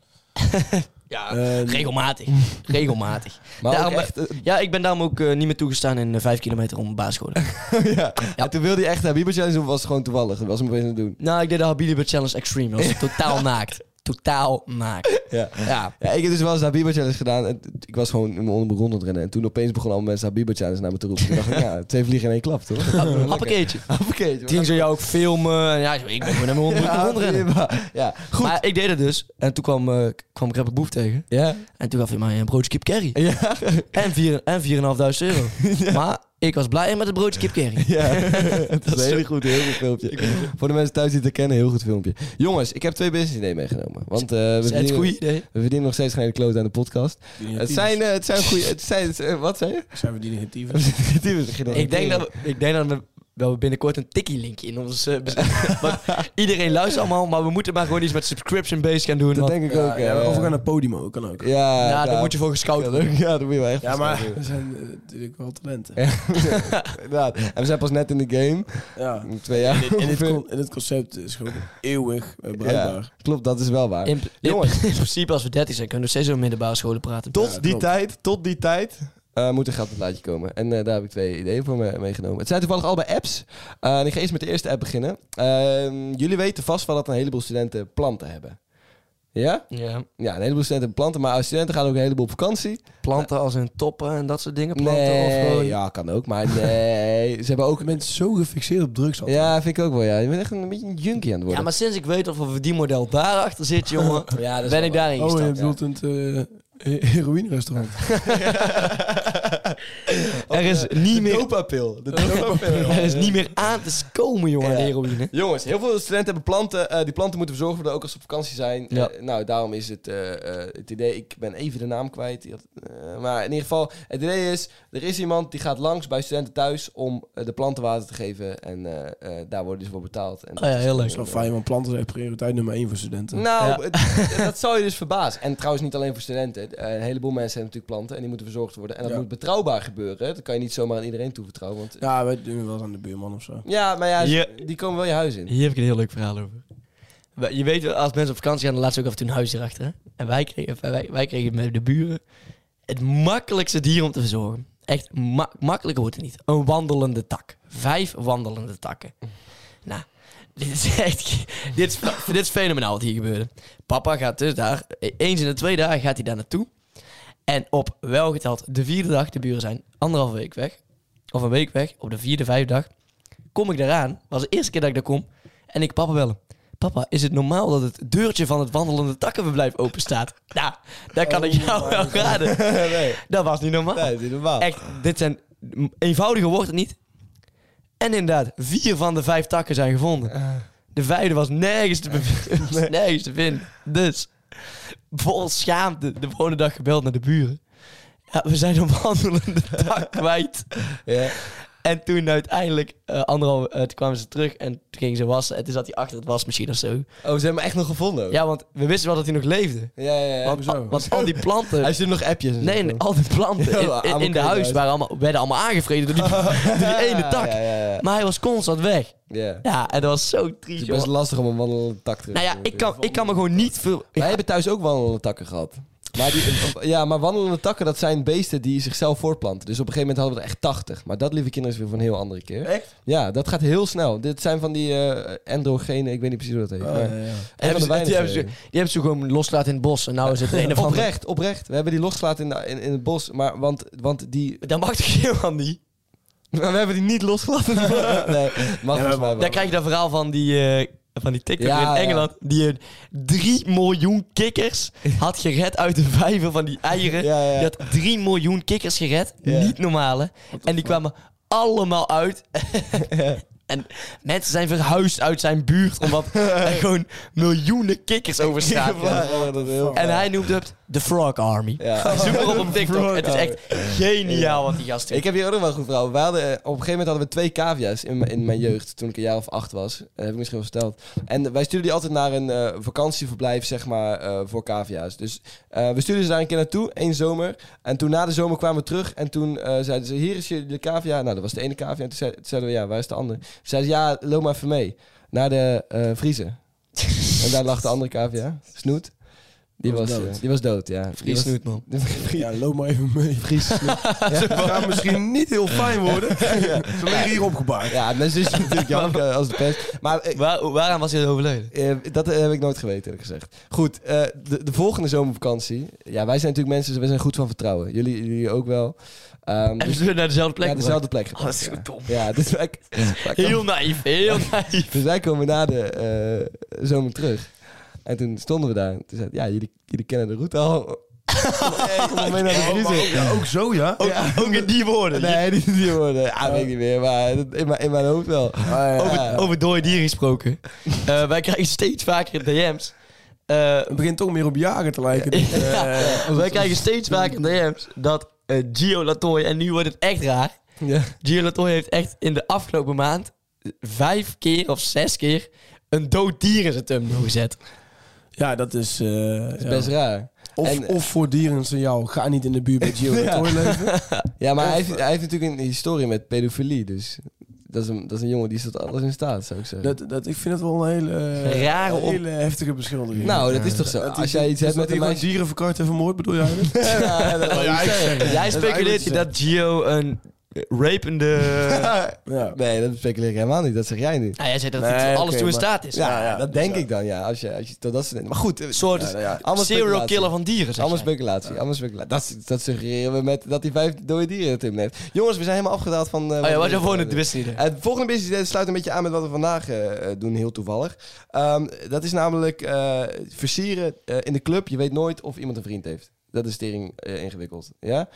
Ja,
Eh,
[laughs]
regelmatig. Regelmatig.
Maar
Daarom-
ook echt... eh,
Ja, ik ben daarom ook eh, niet meer toegestaan in eh, vijf kilometer om
[laughs]
basisscholen.
ja. En toen wilde hij echt de Habiba Challenge doen, was het gewoon toevallig. Dat was hem opeens aan het doen.
nou, ik deed de Habibi Challenge Extreme. Dat
[laughs]
was totaal naakt. Totaal naakt.
Ja.
Ja.
Ja, ik heb dus wel eens de Habiba Challenge gedaan. En t- ik was gewoon in mijn onderbroek rondrennen. En toen opeens begonnen allemaal mensen Habiba Challenge naar me te roepen. Toen dacht ik, ja, twee vliegen in één klap, toch?
Happakeetje.
Hoppakee,
Die ging zo jou ook filmen. En Ja, ik ben gewoon met mijn hond
Ja,
rondrennen.
Habiba. Ja, goed.
Maar ik deed het dus. En toen kwam, eh kwam ik Rapper Boef tegen.
ja.
En toen gaf hij mij een broodje kip curry.
Ja.
En vier- en 4.500
[laughs]
euro. Maar ik was blij met het broodje kip curry.
Ja, dat is een heel goed, heel goed filmpje. Voor de mensen thuis die het herkennen, heel goed filmpje. Jongens, ik heb twee business ideeën meegenomen. Want eh, we,
Is het
verdienen,
goed idee?
we verdienen nog steeds geen kloot aan de podcast. Het zijn, eh, het zijn goede... Het zijn, het zijn- wat zei je?
Zijn we die
[laughs]
negatieve?
Ik denk, dat we, ik denk dat we wel binnenkort een tikkie-linkje in ons... eh, bez- want iedereen luistert allemaal, maar we moeten maar gewoon iets met subscription-based gaan doen.
Dat
want-
denk ik ook.
Ja, ja,
eh,
of we gaan naar Podimo, kan ook.
Ja,
ja, daar
nou,
moet je voor gescout worden.
Ja, daar moet je wel echt
Ja,
voor
maar
schamen.
er zijn eh, natuurlijk wel talenten.
Inderdaad. En we zijn pas net in de game.
Ja.
Twee jaar.
En dit,
ongeveer.
con- en dit concept is gewoon eeuwig eh,
ja,
bruikbaar.
klopt, dat is wel waar.
In, in-
Jongens.
in [laughs] principe, als we 30 zijn, kunnen we steeds over middelbare scholen praten.
tot
Ja,
die
klopt.
tijd, tot die tijd. eh, moet een gat op het laadje komen. En eh, daar heb ik twee ideeën voor me meegenomen. Het zijn toevallig allebei apps. Eh, en ik ga eerst met de eerste app beginnen. Ehm, jullie weten vast wel dat een heleboel studenten planten hebben. Ja?
Ja.
Ja, een heleboel studenten planten. Maar studenten gaan ook een heleboel op vakantie.
Planten als in toppen en dat soort dingen. Planten of eh, gewoon...
nee, ja, kan ook. Maar nee, ze hebben ook...
Je bent zo gefixeerd op drugs. altijd.
Ja, vind ik ook wel, ja. Je bent echt een, beetje een junkie aan het worden.
Ja, maar sinds ik weet of er die model daarachter zit, jongen,
Ja, dat is
ben
wel
ik daarin
Oh, je
gestapt.
bedoelt een eh heroïne restaurant.
[laughs] er is niet meer, [laughs]
dopapil. De
er is niet meer aan te komen, jongen, aan de heroïne.
Jongens, heel veel studenten hebben planten. Eh, die planten moeten we zorgen voor dat ook als ze op vakantie zijn.
Ja.
Eh, nou, daarom is het, eh, eh, het idee... Ik ben even de naam kwijt. Die had- eh, maar in ieder geval, het idee is... Er is iemand die gaat langs bij studenten thuis om eh, de planten water te geven. En eh, eh, daar worden ze voor betaald. En
Oh ja, heel leuk.
Dat is wel fijn, want planten zijn prioriteit nummer één voor studenten.
eh, Nou, het- dat zou je dus verbazen. En trouwens niet alleen voor studenten. Eh, Een heleboel mensen hebben natuurlijk planten en die moeten verzorgd worden. En dat
Ja.
moet betrouwbaar gebeuren. Dat kan je niet zomaar aan iedereen toevertrouwen. Want...
Ja, wij doen het wel eens aan de buurman of zo.
Ja, maar ja,
Ja.
die komen wel je huis in.
Hier heb ik een heel leuk verhaal over. We- Je weet, wel, als mensen op vakantie gaan, dan laten ze ook af en toe een huis erachter. hè? En wij kregen, wij, wij kregen met de buren het makkelijkste dier om te verzorgen. Echt, ma makkelijker wordt het niet. Een wandelende tak. Vijf wandelende takken. Nou, dit is echt... Dit is, dit is fenomenaal wat hier gebeurde. Papa gaat dus daar... Eens in de twee dagen gaat hij daar naartoe. En op welgeteld de vierde dag... De buren zijn anderhalve week weg. Of een week weg. Op de vierde, vijfde dag kom ik daaraan. was de eerste keer dat ik daar kom. En ik papa bellen. Papa, is het normaal dat het deurtje van het wandelende takkenverblijf open staat? Nou, daar kan ik jou wel raden.
[laughs] nee,
Dat was niet normaal.
nee, dit is normaal.
Echt, dit zijn eenvoudige woorden niet. En inderdaad, vier van de vijf takken zijn
Eh.
gevonden. De vijfde was nergens te, bev- was [laughs]
[laughs]
nergens te vinden. Dus, vol schaamte, de volgende dag gebeld naar de buren. Ja, we zijn een
[laughs]
wandelende tak kwijt.
Ja.
En toen uiteindelijk, eh anderhalf, eh, toen kwamen ze terug en toen gingen ze wassen. En toen zat hij achter het wasmachine of zo.
Oh, ze hebben hem echt nog gevonden. ook.
Ja, want we wisten wel dat hij nog leefde.
ja, ja. ja.
Want,
hoezo?
want al die planten...
Hij stuurt nog appjes. en
Nee,
zo.
nee, al die planten in-
Ja,
in, in, de
allemaal
huis
keukenhuis.
waren allemaal, werden allemaal aangevreden door die, door oh, die
[laughs]
ene tak.
Ja, ja, ja.
Maar hij was constant weg.
ja.
Ja, en dat was zo
Het
triest,
is best
jongen.
lastig om een wandelende tak terug
Nou ja,
te
ik kan, ik kan me gewoon niet veel...
Wij hebben thuis ook wandelende takken gehad. Maar die, ja, maar wandelende takken, dat zijn beesten die zichzelf voortplanten. Dus op een gegeven moment hadden we er echt 80. Maar dat, lieve kinderen, is weer voor een heel andere keer.
Echt?
Ja, dat gaat heel snel. Dit zijn van die eh androgenen, ik weet niet precies hoe dat heet.
Ja,
maar-
ja, Eh, ja.
Die hebben, ze, die,
weinige.
hebben ze, die hebben ze gewoon losgelaten in het bos. En nou is het er een of andere...
Oprecht, oprecht. We hebben die losgelaten in, de- in, in het bos, maar want, want die...
Dat mag toch helemaal niet? [laughs]
Maar we hebben die niet losgelaten. nee, mag volgens mij wel.
Daar krijg je dat verhaal van die... eh, van die TikToker
Ja, ja.
in Engeland... die een 3 miljoen kikkers had gered uit de vijver van die eieren.
Ja, ja.
Die had 3 miljoen kikkers gered.
Ja.
Niet normale. En die kwamen allemaal
[laughs]
uit. En mensen zijn verhuisd uit zijn buurt... omdat er gewoon miljoenen kikkers
[laughs]
over straat gaan.
Ja, dat is heel
En hij noemde het The Frog Army.
Ja.
Zoek maar op op TikTok.
Frog
Het is echt geniaal wat die gast doet.
Ik heb hier ook nog wel een goed verhaal. We hadden, eh, op een gegeven moment hadden we twee cavia's in, m- in mijn jeugd, toen ik een jaar of acht was. Dat heb ik misschien wel verteld. En wij stuurden die altijd naar een eh, vakantieverblijf, zeg maar, eh, voor cavia's. Dus eh, we stuurden ze daar een keer naartoe, één zomer. En toen na de zomer kwamen we terug en toen eh, zeiden ze, hier is je de cavia. Nou, dat was de ene cavia. En toen, zei- toen zeiden we, ja, waar is de andere? Toen zeiden ze, ja, loop maar even mee. Naar de eh vriezen. en daar lag de andere cavia, Snoet. Die was,
Was
eh,
dood.
die was dood, ja. Die was-
Snoet, man.
De [laughs] Vries-
Ja, loop maar even mee.
Vries Snoet.
gaat misschien niet heel fijn worden. Ze liggen hier opgebaard.
Ja, mijn zusje natuurlijk janken als de pest. Maar
[laughs]
eh,
Waar, waaraan was hij overleden?
eh, dat eh, heb ik nooit geweten, eerlijk gezegd. Goed, eh, de, de volgende zomervakantie. Ja, wij zijn natuurlijk mensen, we zijn goed van vertrouwen. Jullie, jullie ook wel. Ehm,
En
dus-
ze naar dezelfde plek.
ja, dezelfde plek.
Oh, dat is
gepakt,
zo dom.
ja. Ja, dus wij,
[laughs]
wij kwamen-
Heel naïef, heel naïef.
dus wij komen na de eh, zomer terug. En toen stonden we daar. En Toen zei ik, ja, jullie, jullie kennen de
[laughs]
route al. [laughs] Kom maar mee naar
Oh,
de vriezer.
ook zo, ja?
Oh.
Ook, ook in die woorden.
Nee, die, die woorden. Ja, weet ik niet meer, maar dat- in, mijn- in mijn hoofd wel.
Oh, Over, over dode dieren gesproken. Eh, wij krijgen steeds vaker DM's. Eh,
Het begint toch meer op jagen te lijken. Dus, eh,
wij krijgen steeds vaker DM's dat eh, Gio Latoy, en nu wordt het echt raar.
Ja.
Gio Latoy heeft echt in de afgelopen maand vijf keer of zes keer een dood dier in zijn thumbnail gezet.
Ja, dat is... eh, ja.
Best raar.
of,
en-
of voor dieren een signaal. Ga niet in de buurt bij Gio
Ja.
ja.
Ja, maar hij heeft, hij heeft natuurlijk een historie met pedofilie, dus dat is een, dat is een jongen die staat alles in staat, zou ik zeggen.
Dat, dat, ik vind het wel een hele, eh,
Rare
een
op-
hele heftige beschuldiging.
nou, dat is toch zo.
Dat hij-
Als jij iets
dus
hebt
dat
met een
hij gewoon
meisje...
dieren verkart en vermoord, bedoel jij? dat?
[laughs] Ja,
[laughs]
dat wou ik
Ja, ik
zeggen.
Jij
zeg het. Dat is eigenlijk
speculeert
wat je
dat Gio een rapende...
Ja.
Nee, dat speculeer ik helemaal niet. Dat zeg jij nu.
Nou, jij zegt dat
Nee,
het alles
oké,
toe in
maar-
staat is.
Ja,
Ja, ja,
dat
dus
denk
ja.
ik dan, ja. Als je, als je, tot dat soort- maar goed, eh,
Een soort
ja, ja, allemaal
serial
speculatie.
killer van dieren, zeg
Allemaal
jij.
speculatie, allemaal speculatie. Dat, is- dat suggereren we met dat die vijf dode dieren het hem net. Jongens, we zijn helemaal afgedaald van... eh,
Oh ja,
we
wat je
net
voor het
hadden.
wist niet. hè?
Eh, Het volgende business idee sluit een beetje aan met wat we vandaag eh, eh, doen, heel toevallig. Ehm, dat is namelijk eh, versieren eh, in de club. Je weet nooit of iemand een vriend heeft. Dat is tering eh, ingewikkeld. Ja?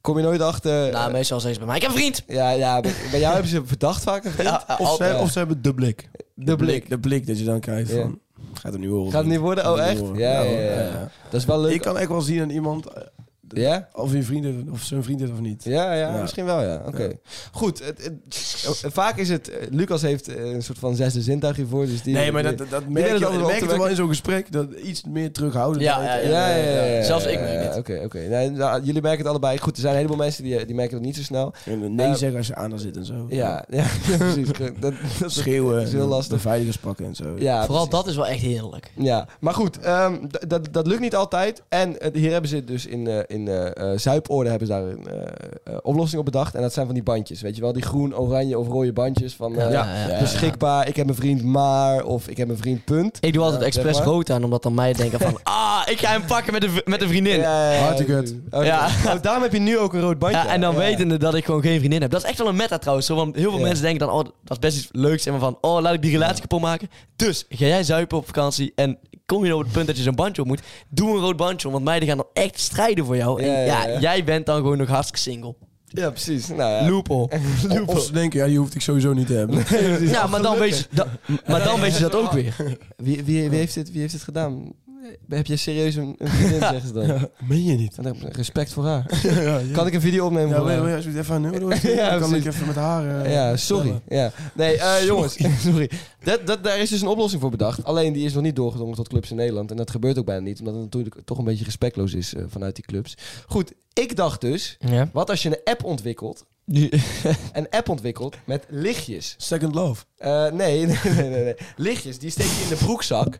Kom je nooit achter... eh,
Nou, meestal zeggen ze bij mij, ik heb een vriend.
ja, ja, bij bij jou hebben ze verdacht vaak een vriend.
Of, ze,
ja.
of ze hebben de blik.
De blik.
De blik dat je dan krijgt
Ja.
van... Gaat hem nu horen.
Gaat het niet worden?
Gaat
Oh,
het
echt?
niet horen.
Ja, ja,
hoor.
ja, ja. Dat is wel leuk.
Ik kan echt wel zien aan iemand eh,
Ja?
of hij vrienden of zijn vriend heeft of niet.
Ja, ja,
Ja.
misschien wel, ja. Oké. Goed, het- het- vaak is het... eh, Lucas heeft eh, een soort van zesde zintuig hiervoor, dus die...
Nee, maar dat, dat, dat merk
weet
je
het
dat
altijd wel
merk
te
je toch wel in zo'n gesprek. Dat iets meer terughouden.
Ja, ja,
Ja,
eh,
ja, ja, ja, ja.
Zelfs ik
Ja,
merk
ja,
het.
Oké, oké. Nee, nou, jullie merken het allebei. Goed, er zijn een heleboel mensen die, eh, die merken het niet zo snel.
Nee
Eh,
zeggen als je aan haar zit en zo.
Ja, ja, precies. Dat, dat, [laughs] dat-
Schreeuwen.
is heel lastig.
Beveiligers pakken en zo.
ja,
Vooral
precies.
dat is wel echt heerlijk.
Ja, maar goed, ehm, d- dat, dat lukt niet altijd. En eh, hier hebben ze dus in, eh in eh, eh, Zuipoorden hebben ze daar een eh, eh, oplossing op bedacht. En dat zijn van die bandjes, weet je wel? Die groen, oranje of rode bandjes van eh,
Ja, ja, ja.
beschikbaar, ik heb een vriend maar, of ik heb een vriend punt.
Ik doe altijd
Ja,
expres
zeg maar.
rood aan, omdat dan mij denken van...
[laughs]
ah, ik ga hem pakken met een, v- met een vriendin. Ja,
Ja, ja, ja.
Hartegut.
Oh,
Ja.
oh, daarom heb je nu ook een rood bandje.
en dan
Ja.
wetende dat ik gewoon geen vriendin heb. Dat is echt wel een meta trouwens. Zo, want heel veel
Ja.
mensen denken dan... oh, dat is best iets leuks. En van, oh, laat ik die relatie kapot maken. Dus, ga jij zuipen op vakantie... en kom je op het punt dat je zo'n bandje op moet... doe een rood bandje om, want meiden gaan dan echt strijden voor jou.
Ja,
en
ja,
ja,
ja.
jij bent dan gewoon nog hartstikke single.
Ja, precies. Nou, [laughs] ja.
Loophole.
Of- Of ze denken, ja, die hoeft ik sowieso niet te hebben.
Ja, maar dan, weet je, dan- maar dan weet je dat ook
[laughs]
weer.
Wie, wie, wie, heeft dit, wie heeft dit gedaan? Heb je serieus een, een vriendin, zeggen ze dan.
[laughs] Meen je
[laughs]
niet?
Dan heb ik Respect voor haar. Kan ik een video opnemen
Ja,
voor
wil,
haar?
wil je alsjeblieft even aan Nero doen?
Ja,
Dan kan ik
precies.
even met haar... eh,
Ja, sorry.
bellen.
Ja. Nee, eh, jongens, [laughs] sorry. Dat, dat, daar is dus een oplossing voor bedacht. Alleen die is nog niet doorgedrongen tot clubs in Nederland. En dat gebeurt ook bijna niet, omdat het natuurlijk toch een beetje respectloos is eh, vanuit die clubs. Goed, ik dacht dus,
Ja.
wat als je een app ontwikkelt? [laughs] Een app ontwikkelt met lichtjes.
Second love.
Eh, nee, [laughs] nee, nee, nee, nee. Lichtjes, die steek je in de broekzak.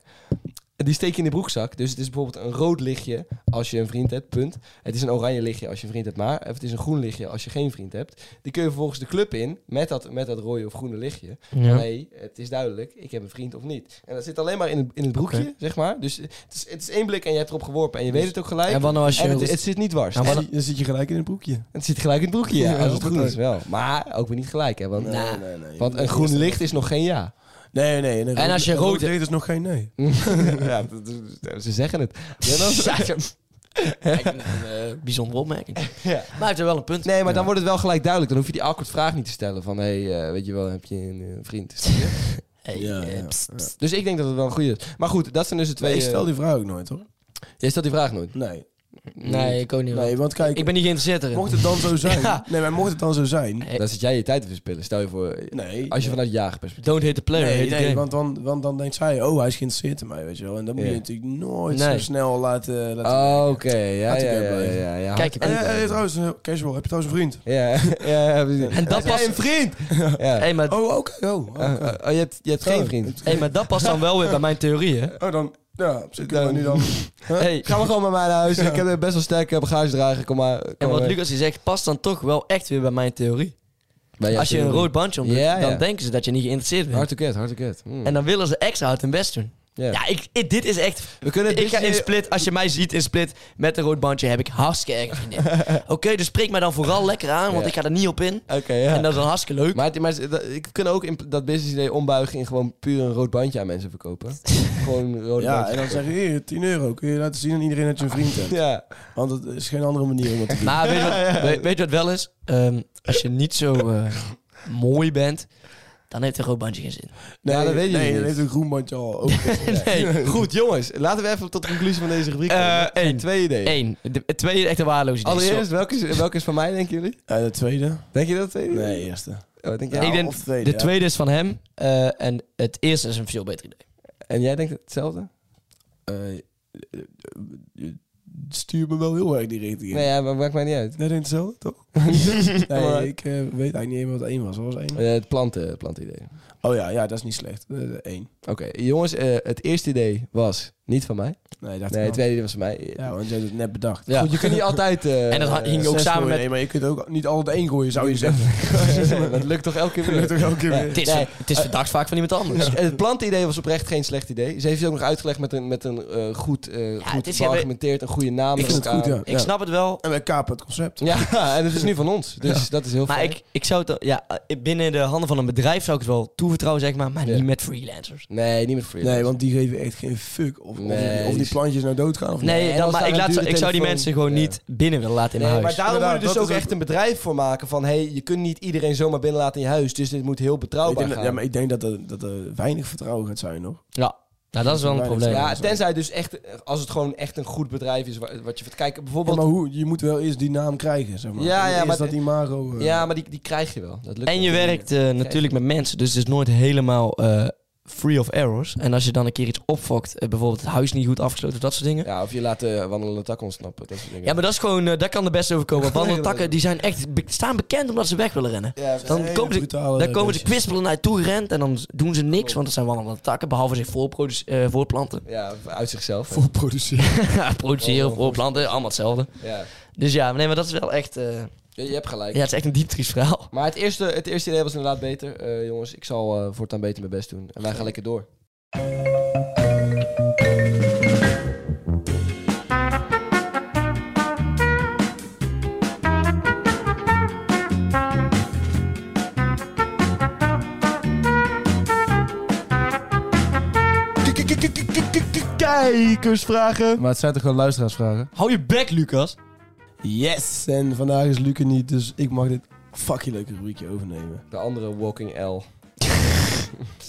Die steek je in de broekzak. Dus het is bijvoorbeeld een rood lichtje als je een vriend hebt, punt. Het is een oranje lichtje als je een vriend hebt, maar. Of het is een groen lichtje als je geen vriend hebt. Die kun je vervolgens de club in met dat, met dat rode of groene lichtje. Nee, het is duidelijk, ik heb een vriend of niet. En dat zit alleen maar in het, in het broekje, zeg maar. Dus het is, het is één blik en je hebt erop geworpen en je weet het ook gelijk.
Dus- En wat nou als je...
En het, het [laughs] zit niet dwars.
Nou, wat-
Dan zit je gelijk in het broekje.
Het zit gelijk in het broekje, ja,
Ja,
als
dat
het goed
is-
is wel. Maar ook weer niet gelijk, hè. Want,
Nee, nee, nee.
want een groen licht is nog geen ja.
Nee, nee. nee
En als je rood-
deed, is nog geen nee.
[laughs] ja, dat is- ze zeggen het.
[laughs]
Ja,
Ja,
dan-
Kijk, een eh, bijzondere opmerking.
Ja.
Maar hij heeft er wel een punt.
Nee, maar dan wordt het wel gelijk duidelijk. Dan hoef je die awkward vraag niet te stellen van... hé, hey, eh, weet je wel, heb je een eh, vriend?
[laughs] Hey,
Ja,
eh,
ja,
pst,
ja.
pst.
Dus ik denk dat het wel een goede is. Maar goed, dat zijn dus de twee...
Twee, ik stel
eh,
die vraag ook nooit, hoor.
Jij stelt die vraag nooit.
Nee.
Nee, ik ook niet.
Nee, want kijk,
ik ben niet geïnteresseerd erin.
mocht het dan zo zijn...
Ja.
Nee, maar mocht het dan zo zijn...
Nee.
Dan zit jij je tijd te verspillen. Stel je voor... eh,
Nee.
Als je vanuit jagerperspectief...
Don't hate the player,
Nee,
hate the
nee
game.
want, dan, want dan denkt zij, oh, hij is geïnteresseerd in mij, weet je wel. En dan moet
Ja.
je natuurlijk nooit
Nee.
zo snel laten... laten
Oh,
merken.
oké. Ja,
Laat die
ja,
game
ja,
blijven.
ja, ja.
Kijk, je
En,
bent-
eh, eh, trouwens, eh, casual, heb je trouwens een vriend?
[laughs] Ja, ja, ja, precies.
En dat
Heb jij
past-
een vriend! Ja.
Hey, maar,
Oh, oké. Oh, oké.
Eh, eh, oh, je hebt, je hebt geen vriend.
hey, maar dat past dan wel weer bij mijn theorie, hè?
Oh, dan... Ja, zitten we nu
[laughs]
dan...
Hey,
Ga maar gewoon met mij naar
[laughs]
huis. Ik heb eh, best wel sterke bagagedrager. Kom maar. Kom
en wat
maar.
Lucas hier zegt, past dan toch wel echt weer bij mijn theorie.
Bij jou
Als je
zit
een
er-
rood bandje om doet,
Ja,
dan
ja.
denken ze dat je niet geïnteresseerd bent.
Hard to get, hard to get. Mm.
En dan willen ze extra hard hun best doen.
Ja.
Ja, ik, ik- dit is echt...
We kunnen het
Ik ga
dit-
in Split, als je mij ziet in Split met een rood bandje, heb ik hartstikke erg vriendin. Oké, dus spreek mij dan vooral lekker aan, want
Ja.
ik ga er niet op in.
Oké, ja.
En dat is dan hartstikke leuk.
Maar, het- maar het- dat- ik kan ook in, dat business idee ombuigen in gewoon puur een rood bandje aan mensen [laughs] verkopen. gewoon een rood
Ja,
bandje.
en dan zeg je, hier, 10 euro. Kun je laten zien aan iedereen dat je een vriend hebt?
[laughs] Ja.
Want het is geen andere manier om het te
[laughs]
doen.
Maar weet je wat, weet, weet je wat wel is? Ehm, als je niet zo eh, mooi bent, dan heeft een rood bandje geen zin.
Ja, dat weet je
Nee,
niet.
dat heeft een groen bandje
[laughs]
al. Ook. Eh,
[laughs] Nee.
Goed, jongens. Laten we even tot de conclusie van deze rubriek
Eh,
komen.
één.
Twee ideeën.
Eén. De, het tweede echt een waarloos idee.
Allereerst, welke is, welke is van mij, denken jullie?
Eh, de tweede?
Denk je dat het tweede? is?
Nee, eerste.
Oh, wat denk
Zo.
jij?
Ja,
ik denk,
of tweede,
de
ja.
tweede is van hem eh, en het eerste is een veel beter idee.
En jij denkt hetzelfde?
Eh, eh, eh, eh, stuur me wel heel erg die richting in.
Nee, ja, maar maakt mij niet uit.
Net in hetzelfde,
[laughs]
toch?
Maar-
nee, ik eh, weet eigenlijk niet meer wat één was. Wat was één?
Eh, het planten, plantidee.
Oh ja, ja, dat is niet slecht. Eh, Eén.
Oké, jongens, eh, het eerste idee was niet van mij.
Nee, dacht
Nee, het
ik al.
tweede idee was van mij.
Ja, want jij hebt het net bedacht.
Goed, je kunt niet [laughs] altijd... eh,
En dat ha- hing
eh,
ook
Zes
samen
gooien,
met-
Nee, maar je kunt ook niet altijd één gooien, zou je zeggen. [laughs]
[laughs] dat lukt toch elke keer weer?
Dat toch elke keer
Ja.
weer.
Het is,
Nee.
het is verdacht vaak van iemand anders.
Dus het plantenidee was oprecht geen slecht idee. Ze heeft het ook nog uitgelegd met een, met een eh, goed, eh
het
goed
is-
geargumenteerd, een goede naam.
Ik vind het
eraan.
goed, ja.
Ik snap het wel,
En wij kapen het concept.
Ja, [laughs] en het is nu van ons. Dus dat is heel
maar
fijn.
ik, ik zou het dan- ja, eh, binnen de handen van een bedrijf zou ik het wel toevertrouwen, zeg maar, maar
Ja.
niet met freelancers.
Nee, niet met freelance.
Nee, want die geven echt geen fuck of, of die-
Nee,
of, die,
die-
plantjes nou doodgaan of niet.
Nee,
en
dan,
als
maar
daar
ik,
een
laat,
dure
ze- ik zou die
telefoon-
mensen gewoon
Ja.
niet binnen willen laten in
Nee,
mijn
maar
huis.
daarom moet je
Inderdaad,
dus
dat
ook
is ook-
echt een bedrijf voor maken van... hé, hey, je kunt niet iedereen zomaar binnenlaten in je huis, dus dit moet heel
Ik
betrouwbaar
denk dat-
gaan.
ja, maar ik denk dat er, dat er weinig vertrouwen gaat zijn, hoor.
Ja, nou, dat is wel een
Ja,
probleem.
Ja,
Ja,
tenzij dus echt, eh, als het gewoon echt een goed bedrijf is, wa- wat je... Kijk,
Ja,
bijvoorbeeld...
maar hoe, je moet wel eerst die naam krijgen, zeg maar.
Ja, ja,
Eerst
maar-
dat imago... eh,
Ja, maar die, die krijg je wel. Dat lukt
En je
wel.
werkt eh, natuurlijk met mensen, dus het is nooit helemaal eh, free of errors. En als je dan een keer iets opfokt, eh, bijvoorbeeld het huis niet goed afgesloten of dat soort dingen. Ja,
Ja, of je laat eh, de wandelende tak ontsnappen. Dat soort dingen.
maar dat is gewoon, eh, daar kan de beste [laughs] overkomen.
Nee,
Wandeltakken, die zijn echt, be- staan bekend omdat ze weg willen rennen.
Ja,
dat is
dan
een hele
komen ze-
brutale
Daar komen ze
beestjes.
kwispelend naar je toe gerend en dan doen ze niks, want het zijn wandelende takken, behalve zich voorproduce- eh, [laughs] voorplanten.
ja, uit zichzelf.
Voor
[laughs]
produceren.
Produceren, voorplanten, allemaal hetzelfde.
Ja.
Dus ja, nee, maar dat is wel echt, eh,
Je, je hebt gelijk.
ja, het is echt een dieptriest verhaal.
Maar het eerste, het eerste idee was inderdaad beter. Eh, jongens, ik zal eh, voortaan beter mijn best doen. En wij gaan lekker door. Kijkersvragen.
Maar het zijn toch gewoon luisteraarsvragen?
Hou je bek, Lucas.
Yes! En vandaag is Luc er niet, dus ik mag dit fucking leuke rubriekje overnemen.
De andere Walking
[laughs]
L.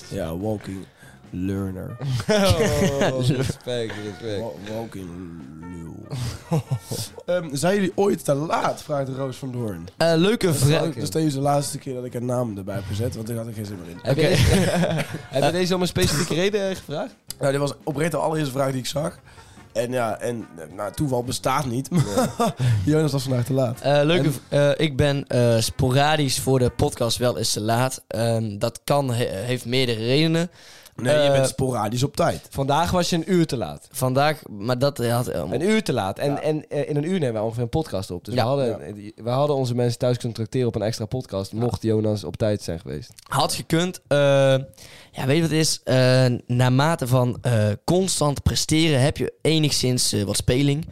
Ja, walking learner.
[laughs]
Oh,
respect, respect.
Wa- walking lul. [laughs] Ehm, zijn jullie ooit te laat? Vraagt Roos van Doorn.
Eh, leuke vraag.
Dus deze is de laatste keer dat ik een naam erbij heb gezet, want ik had er geen zin meer in.
Heb, je, [laughs]
[laughs]
heb je deze om een specifieke reden eh, gevraagd?
Nou, dit was oprecht de allereerste vraag die ik zag. En ja, en eh, nou, toeval bestaat niet. maar [laughs] Jonas was vandaag te laat.
Eh, leuke, v- eh, ik ben eh, sporadisch voor de podcast wel eens te laat. Ehm, dat kan, he- heeft meerdere redenen.
Nee, je
Eh,
bent sporadisch op tijd.
Vandaag was je een uur te laat.
Vandaag, maar dat had... eh,
Een uur te laat. En, en eh, in een uur nemen we ongeveer een podcast op. Dus
Ja.
we, hadden, we hadden onze mensen thuis kunnen tracteren op een extra podcast. Mocht Jonas op tijd zijn geweest.
had gekund. Eh, ja, weet je wat het is? Eh, naarmate van eh, constant presteren heb je enigszins eh, wat speling.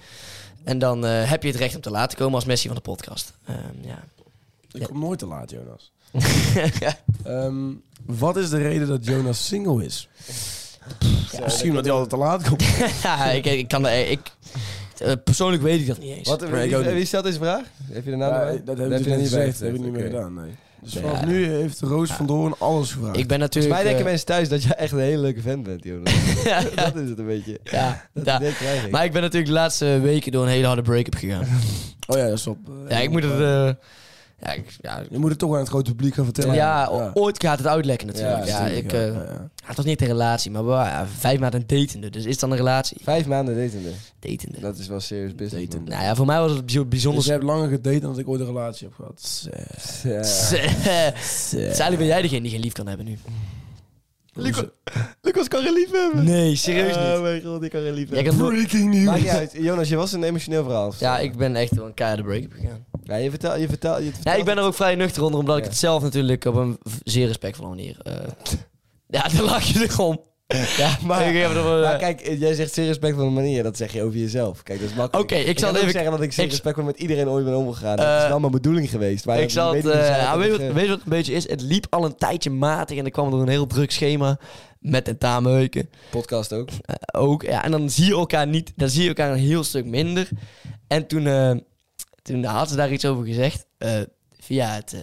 En dan eh, heb je het recht om te laten komen als Messi van de podcast. Ehm, ja. [laughs]
Ik kom nooit te laat, Jonas. Ehm, wat is de reden dat Jonas single is? Misschien omdat hij altijd te laat komt.
ja, ik, ik kan er- ik, eh, Persoonlijk weet ik dat niet eens.
Wat,
Nee, ik ook
wie, wie stelt deze vraag? Heb je de naam
Ja,
erbij? Daar
dat hebben ze
je
net gezegd. Dat
gezegd.
heb ik niet meer
Oké.
gedaan, nee. Dus
Ja.
vanaf nu heeft Roos van Doorn alles gevraagd.
Ik ben
Ah. Volgens
natuurlijk...
Dus,
mij denken
eh,
mensen thuis dat jij echt een hele leuke vent bent, Jonas. [laughs]
[laughs]
[laughs]
dat is het een beetje.
ja,
[laughs] Dat
da-
idee krijg ik.
Maar ik ben natuurlijk de laatste weken door een hele harde break-up
[laughs]
gegaan.
Oh ja, stop.
ja, ik moet het... eh, ja, ik- ja,
Je moet het toch aan het grote publiek gaan vertellen.
ja, o- ooit gaat het uitlekken natuurlijk. Ja, ik
natuurlijk,
eh,
ja, ja.
had toch niet een relatie, maar we waren vijf maanden datende. Dus is het dan een relatie?
Vijf maanden datende.
Datende.
Dat is wel serieus business.
Daten.
Nou ja, voor mij was het bijzo- bijzonder...
Dus je hebt langer gedate dan dat ik ooit een relatie heb gehad. Zeg.
man.
[laughs]
Ja.
Sally, ben jij degene die geen lief kan hebben nu?
Dus, eh,
Lucas kan relief hebben.
Nee, serieus niet.
Oh mijn god, ik kan relief
Jij
hebben.
kan nooit-
Maakt niet uit. Jonas, je was een emotioneel verhaal.
ja, ik ben echt wel een keiharde break-up gegaan.
Ja, je vertelt... Je vertel, je
Ja,
vertelt-
ik ben er ook vrij nuchter onder, omdat ik
Ja.
het zelf natuurlijk op een v- zeer respectvolle manier... eh, [laughs] ja, daar lach je er om. Ja,
[laughs] maar-
ik heb er wel, eh,
Maar kijk, eh, jij zegt zeer respectvolle manier. Dat zeg je over jezelf. Kijk, dat is makkelijk.
Oké, ik zal
kan
even-
ook zeggen dat ik zeer
ik-
respectvol met iedereen ooit ben omgegaan.
Eh,
dat is wel mijn bedoeling geweest. Maar
ik zat,
weet
eh
niet of zij
ah,
dat
weet, je wat,
hebben
weet je wat het een beetje is? Het liep al een tijdje matig en er kwam door een heel druk schema met tentamenweken
ge- Podcast ook.
eh, ook. Ja, en dan zie je elkaar niet, dan zie je elkaar een heel stuk minder. En toen, eh, toen had ze daar iets over gezegd eh, via het eh,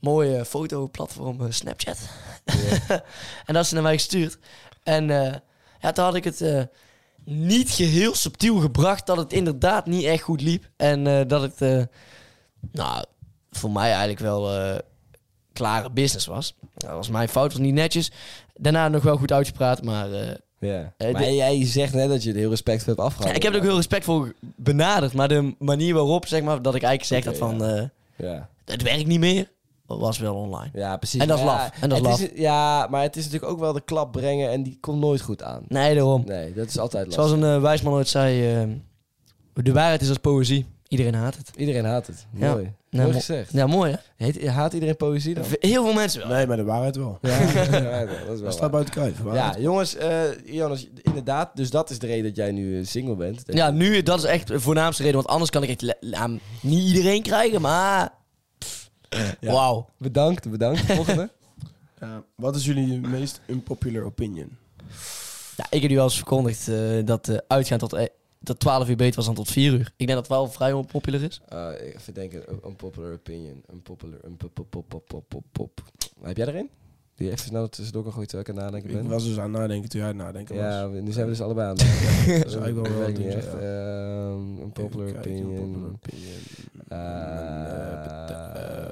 mooie fotoplatform eh, Snapchat. [laughs] en dat had ze naar mij gestuurd. En eh, ja, toen had ik het eh, niet geheel subtiel gebracht dat het inderdaad niet echt goed liep. En eh, dat het, eh, nou, voor mij eigenlijk wel eh, klare business was. Dat was mijn fout, was niet netjes. Daarna nog wel goed uitgepraat, maar eh,
Ja.
Eh,
maar
de-
jij zegt net dat je het heel respectvol hebt
ja,
afgehouden.
ik heb het ook heel respectvol benaderd. Maar de manier waarop, zeg maar, dat ik eigenlijk zeg
Oké,
dat van... eh,
Ja.
het werkt niet meer, was wel online.
Ja, precies.
En dat is
Maar
laf. En dat is
het ja, maar het is natuurlijk ook wel de klap brengen en die komt nooit goed aan.
Nee, daarom.
Nee, dat is altijd lastig.
Zoals een eh, wijs man ooit zei... eh, de waarheid is als poëzie. Iedereen haat het.
Iedereen haat het.
Ja.
Mooi.
Nou,
Mooi
mo-
gezegd.
Ja, mooi hè?
Heet, haat iedereen poëzie dan?
Heel veel mensen wel.
Nee, maar de waarheid wel.
Ja, [laughs] ja, dat is
Dat
wel
staat
waar.
buiten kijf. waarheid.
Ja, jongens, eh, Jonas, inderdaad. Dus dat is de reden dat jij nu eh, single bent.
Ja, nu, dat is echt de voornaamste reden. Want anders kan ik echt le- aan niet iedereen krijgen, maar... pff, Wauw. [laughs]
Bedankt, bedankt. Volgende.
Ja. eh, Wat is jullie meest unpopular opinion?
Ja, ik heb nu wel eens verkondigd eh, dat eh, uitgaan tot, eh, dat 12 uur beter was dan tot 4 uur. Ik denk dat 12 vrij onpopulair is.
Eh, even denken, een unpopular opinion. Unpopular, unpopopopopopop. Heb jij erin? Die je even snel er tussendoor kan gooien terwijl ik aan het nadenken
Ik
ben.
was dus aan het nadenken toen jij aan het nadenken
[laughs]
was.
Ja, we- nu zijn we dus allebei aan het Dat
is eigenlijk wel wel
werkt
doen,
niet
ja.
echt. Ehm, een popular
Even kijken, unpopular
opinion.
opinion.
Eh,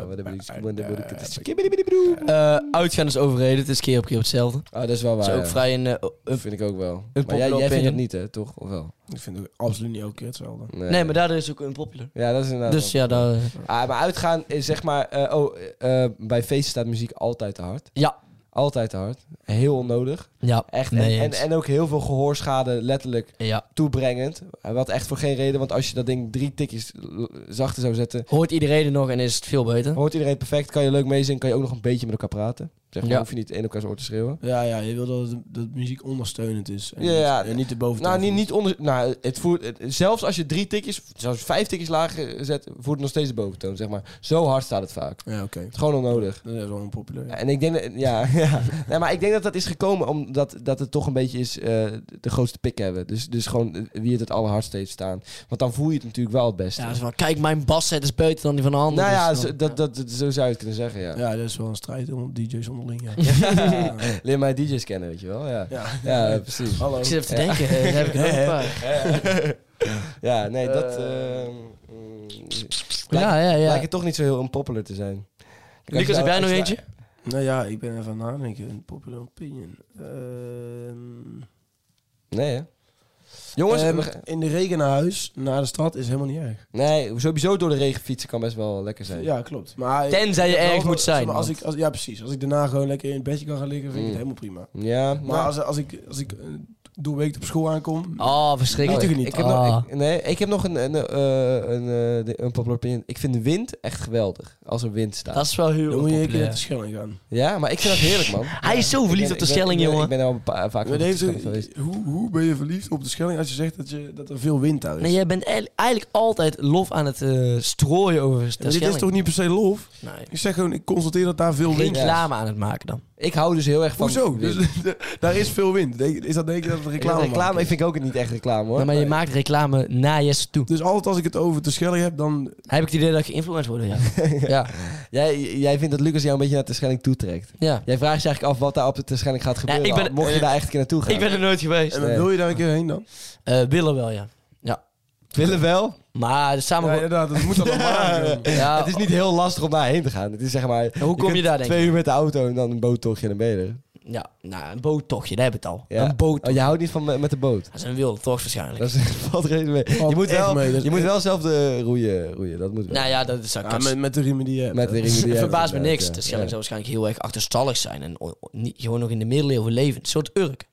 wat heb ik-
Eh,
wat heb ik-
eh,
Skibidibidibroe.
Eh, uitgaan is overreden, het is keer op keer hetzelfde.
Oh, dat is wel
Dat
waar.
is ook
ja.
vrij een... eh, o- een-
Dat vind ik ook wel. Maar jij,
unpopular
jij vindt het
opinion.
niet, hè? Toch? Of wel?
Ik vind het absoluut niet elke keer hetzelfde.
nee, maar daar is ook een populair.
Ja, dat is inderdaad...
Dus
wel-
ja, daar...
Ah, maar uitgaan is zeg maar... eh, oh, eh, eh, bij feesten staat muziek altijd te hard.
Ja.
Altijd te hard. Heel onnodig.
eh, Ja,
Echt.
mee
en, en,
eens.
en ook heel veel gehoorschade letterlijk
ja.
toebrengend. Eh, Wat echt voor geen reden. Want als je dat ding drie tikjes l- zachter zou zetten...
Hoort iedereen er nog en is het veel beter.
Hoort iedereen perfect, kan je leuk meezingen, kan je ook nog een beetje met elkaar praten. Zeg maar,
Ja.
hoef je niet in elkaars oor te schreeuwen.
Ja, ja, je wil dat, het- dat muziek ondersteunend is. En
Ja,
niet,
ja.
en niet de boven.
Nou, niet, niet onder, nou het voert, het- zelfs als je drie tikjes, zelfs vijf tikjes lager zet, voert het nog steeds de boventoon, zeg maar. Zo hard staat het vaak. Het
Ja, oké.
is gewoon onnodig.
Dat is wel onpopulair.
En ik denk, dat- ja, [laughs] ja. Nee, maar ik denk dat dat is gekomen omdat dat het toch een beetje is eh, de grootste pik hebben. Dus, dus gewoon eh, wie het het allerhardst heeft staan. Want dan voel je het natuurlijk wel het beste.
Ja, dat is wel, kijk, mijn basset is beter dan die van de ander.
nou ja,
dus dan-
zo, dat, dat, dat- zo zou je het kunnen zeggen, ja.
Ja, dat is wel een strijd om DJ's onderling. Ja.
[laughs] Leer mij DJ's kennen, weet je wel. Ja, ja. precies.
Hallo.
Ik zit even te denken, eh, daar
[laughs]
heb ik nog een paar.
Ja, nee, dat...
Eh.
ehm, mm, lijkt,
Ja, ja,
lijkt
ja.
het toch niet zo heel unpopular te zijn.
Lucas, heb jij nog eentje?
Nou ja, ik ben even aan het nadenken. Een popular opinion. Ehm,
Nee, hè? Jongens,
Eh,
ehm,
we gaan-
in de regen naar huis, naar de stad, is helemaal niet erg.
nee, sowieso door de regen fietsen kan best wel lekker zijn.
Ja, klopt. Maar
Tenzij je
ik heb wel
erg
wel-
moet zijn,
zeg maar, Als
want-
ik, als, ja, precies. Nou, Als ik daarna gewoon lekker in het bedje kan gaan liggen, vind ik
Mm.
het helemaal prima.
Ja,
Maar als, als ik, als ik eh, doorweekt op school aankom.
Oh, verschrikkelijk.
natuurlijk niet.
Ik heb,
Ah.
nog, ik- nee, ik heb nog een, een, eh, een, eh, de- een popular opinion. Ik vind de wind echt geweldig. Als er wind staat.
dat is wel heel
Dan moet je een keer
populair.
naar de Schelling gaan.
Ja, maar ik vind dat heerlijk, man.
Hij is zo
Ik ben-
verliefd op de
ik ben-
Schelling,
ik ben-
jongen.
Ik ben al een paar, vaak
Maar
op de
heeft
Schelling
ook-
geweest.
hoe, hoe ben je verliefd op de Schelling als je zegt dat, je, dat er veel wind daar is?
Nee, jij bent eigenlijk- eigenlijk altijd lof aan het eh, strooien over de
Maar dit
Schelling.
is toch niet per se lof?
Nee.
Ik zeg gewoon, ik constateer dat daar veel wind is.
Reclame aan het maken dan.
Ik hou dus heel erg van
Hoezo?
wind.
Dus, [laughs] daar is veel wind. Denk- Is dat denk je dat het reclame,
reclame, reclame ik
maken?
vind ik ook niet echt reclame, hoor.
Nee, maar je maakt reclame naar Jesse toe.
Dus altijd als ik het over de Schelling heb, dan...
Heb ik het idee dat ik geïnfluenced word? Ja.
[laughs]
ja.
Jij, jij vindt dat Lucas jou een beetje naar de Schelling toetrekt.
ja.
Jij vraagt je eigenlijk af wat daar op de Schelling gaat gebeuren.
ik ben- eh,
mocht je daar echt een keer naartoe gaan.
Ik ben er nooit geweest.
En dan wil je daar een keer heen dan?
Eh Willen wel, ja. Ja.
willen wel.
Maar samen...
Ja, inderdaad, dat moet dan wel
[laughs]
maken.
Ja,
het is niet heel lastig om daarheen te gaan. Het is zeg maar...
hoe kom je
kunt
daar, denk
Twee uur met de auto en dan een boottochtje naar beneden.
ja, nou, een boottochtje, daar heb je het al.
Ja.
Een boot.
Oh, je houdt niet van me- met de boot.
Dat is een wilde tocht waarschijnlijk.
Dat is, [laughs] valt reden mee.
Valt
je moet
echt
wel,
mee, dat is
je moet
echt-
wel zelf de roeien, roeien. Dat moet wel.
Nou ja, dat is
Ja, met, met de riemen die je hebt.
Met de ringen die je
Het
hebt,
verbaast me
inderdaad,
niks.
ja.
De Schelling zou
Ja.
waarschijnlijk heel erg achterstallig zijn. En o- o- niet, gewoon nog in de middeleeuwen leven. Een soort Urk.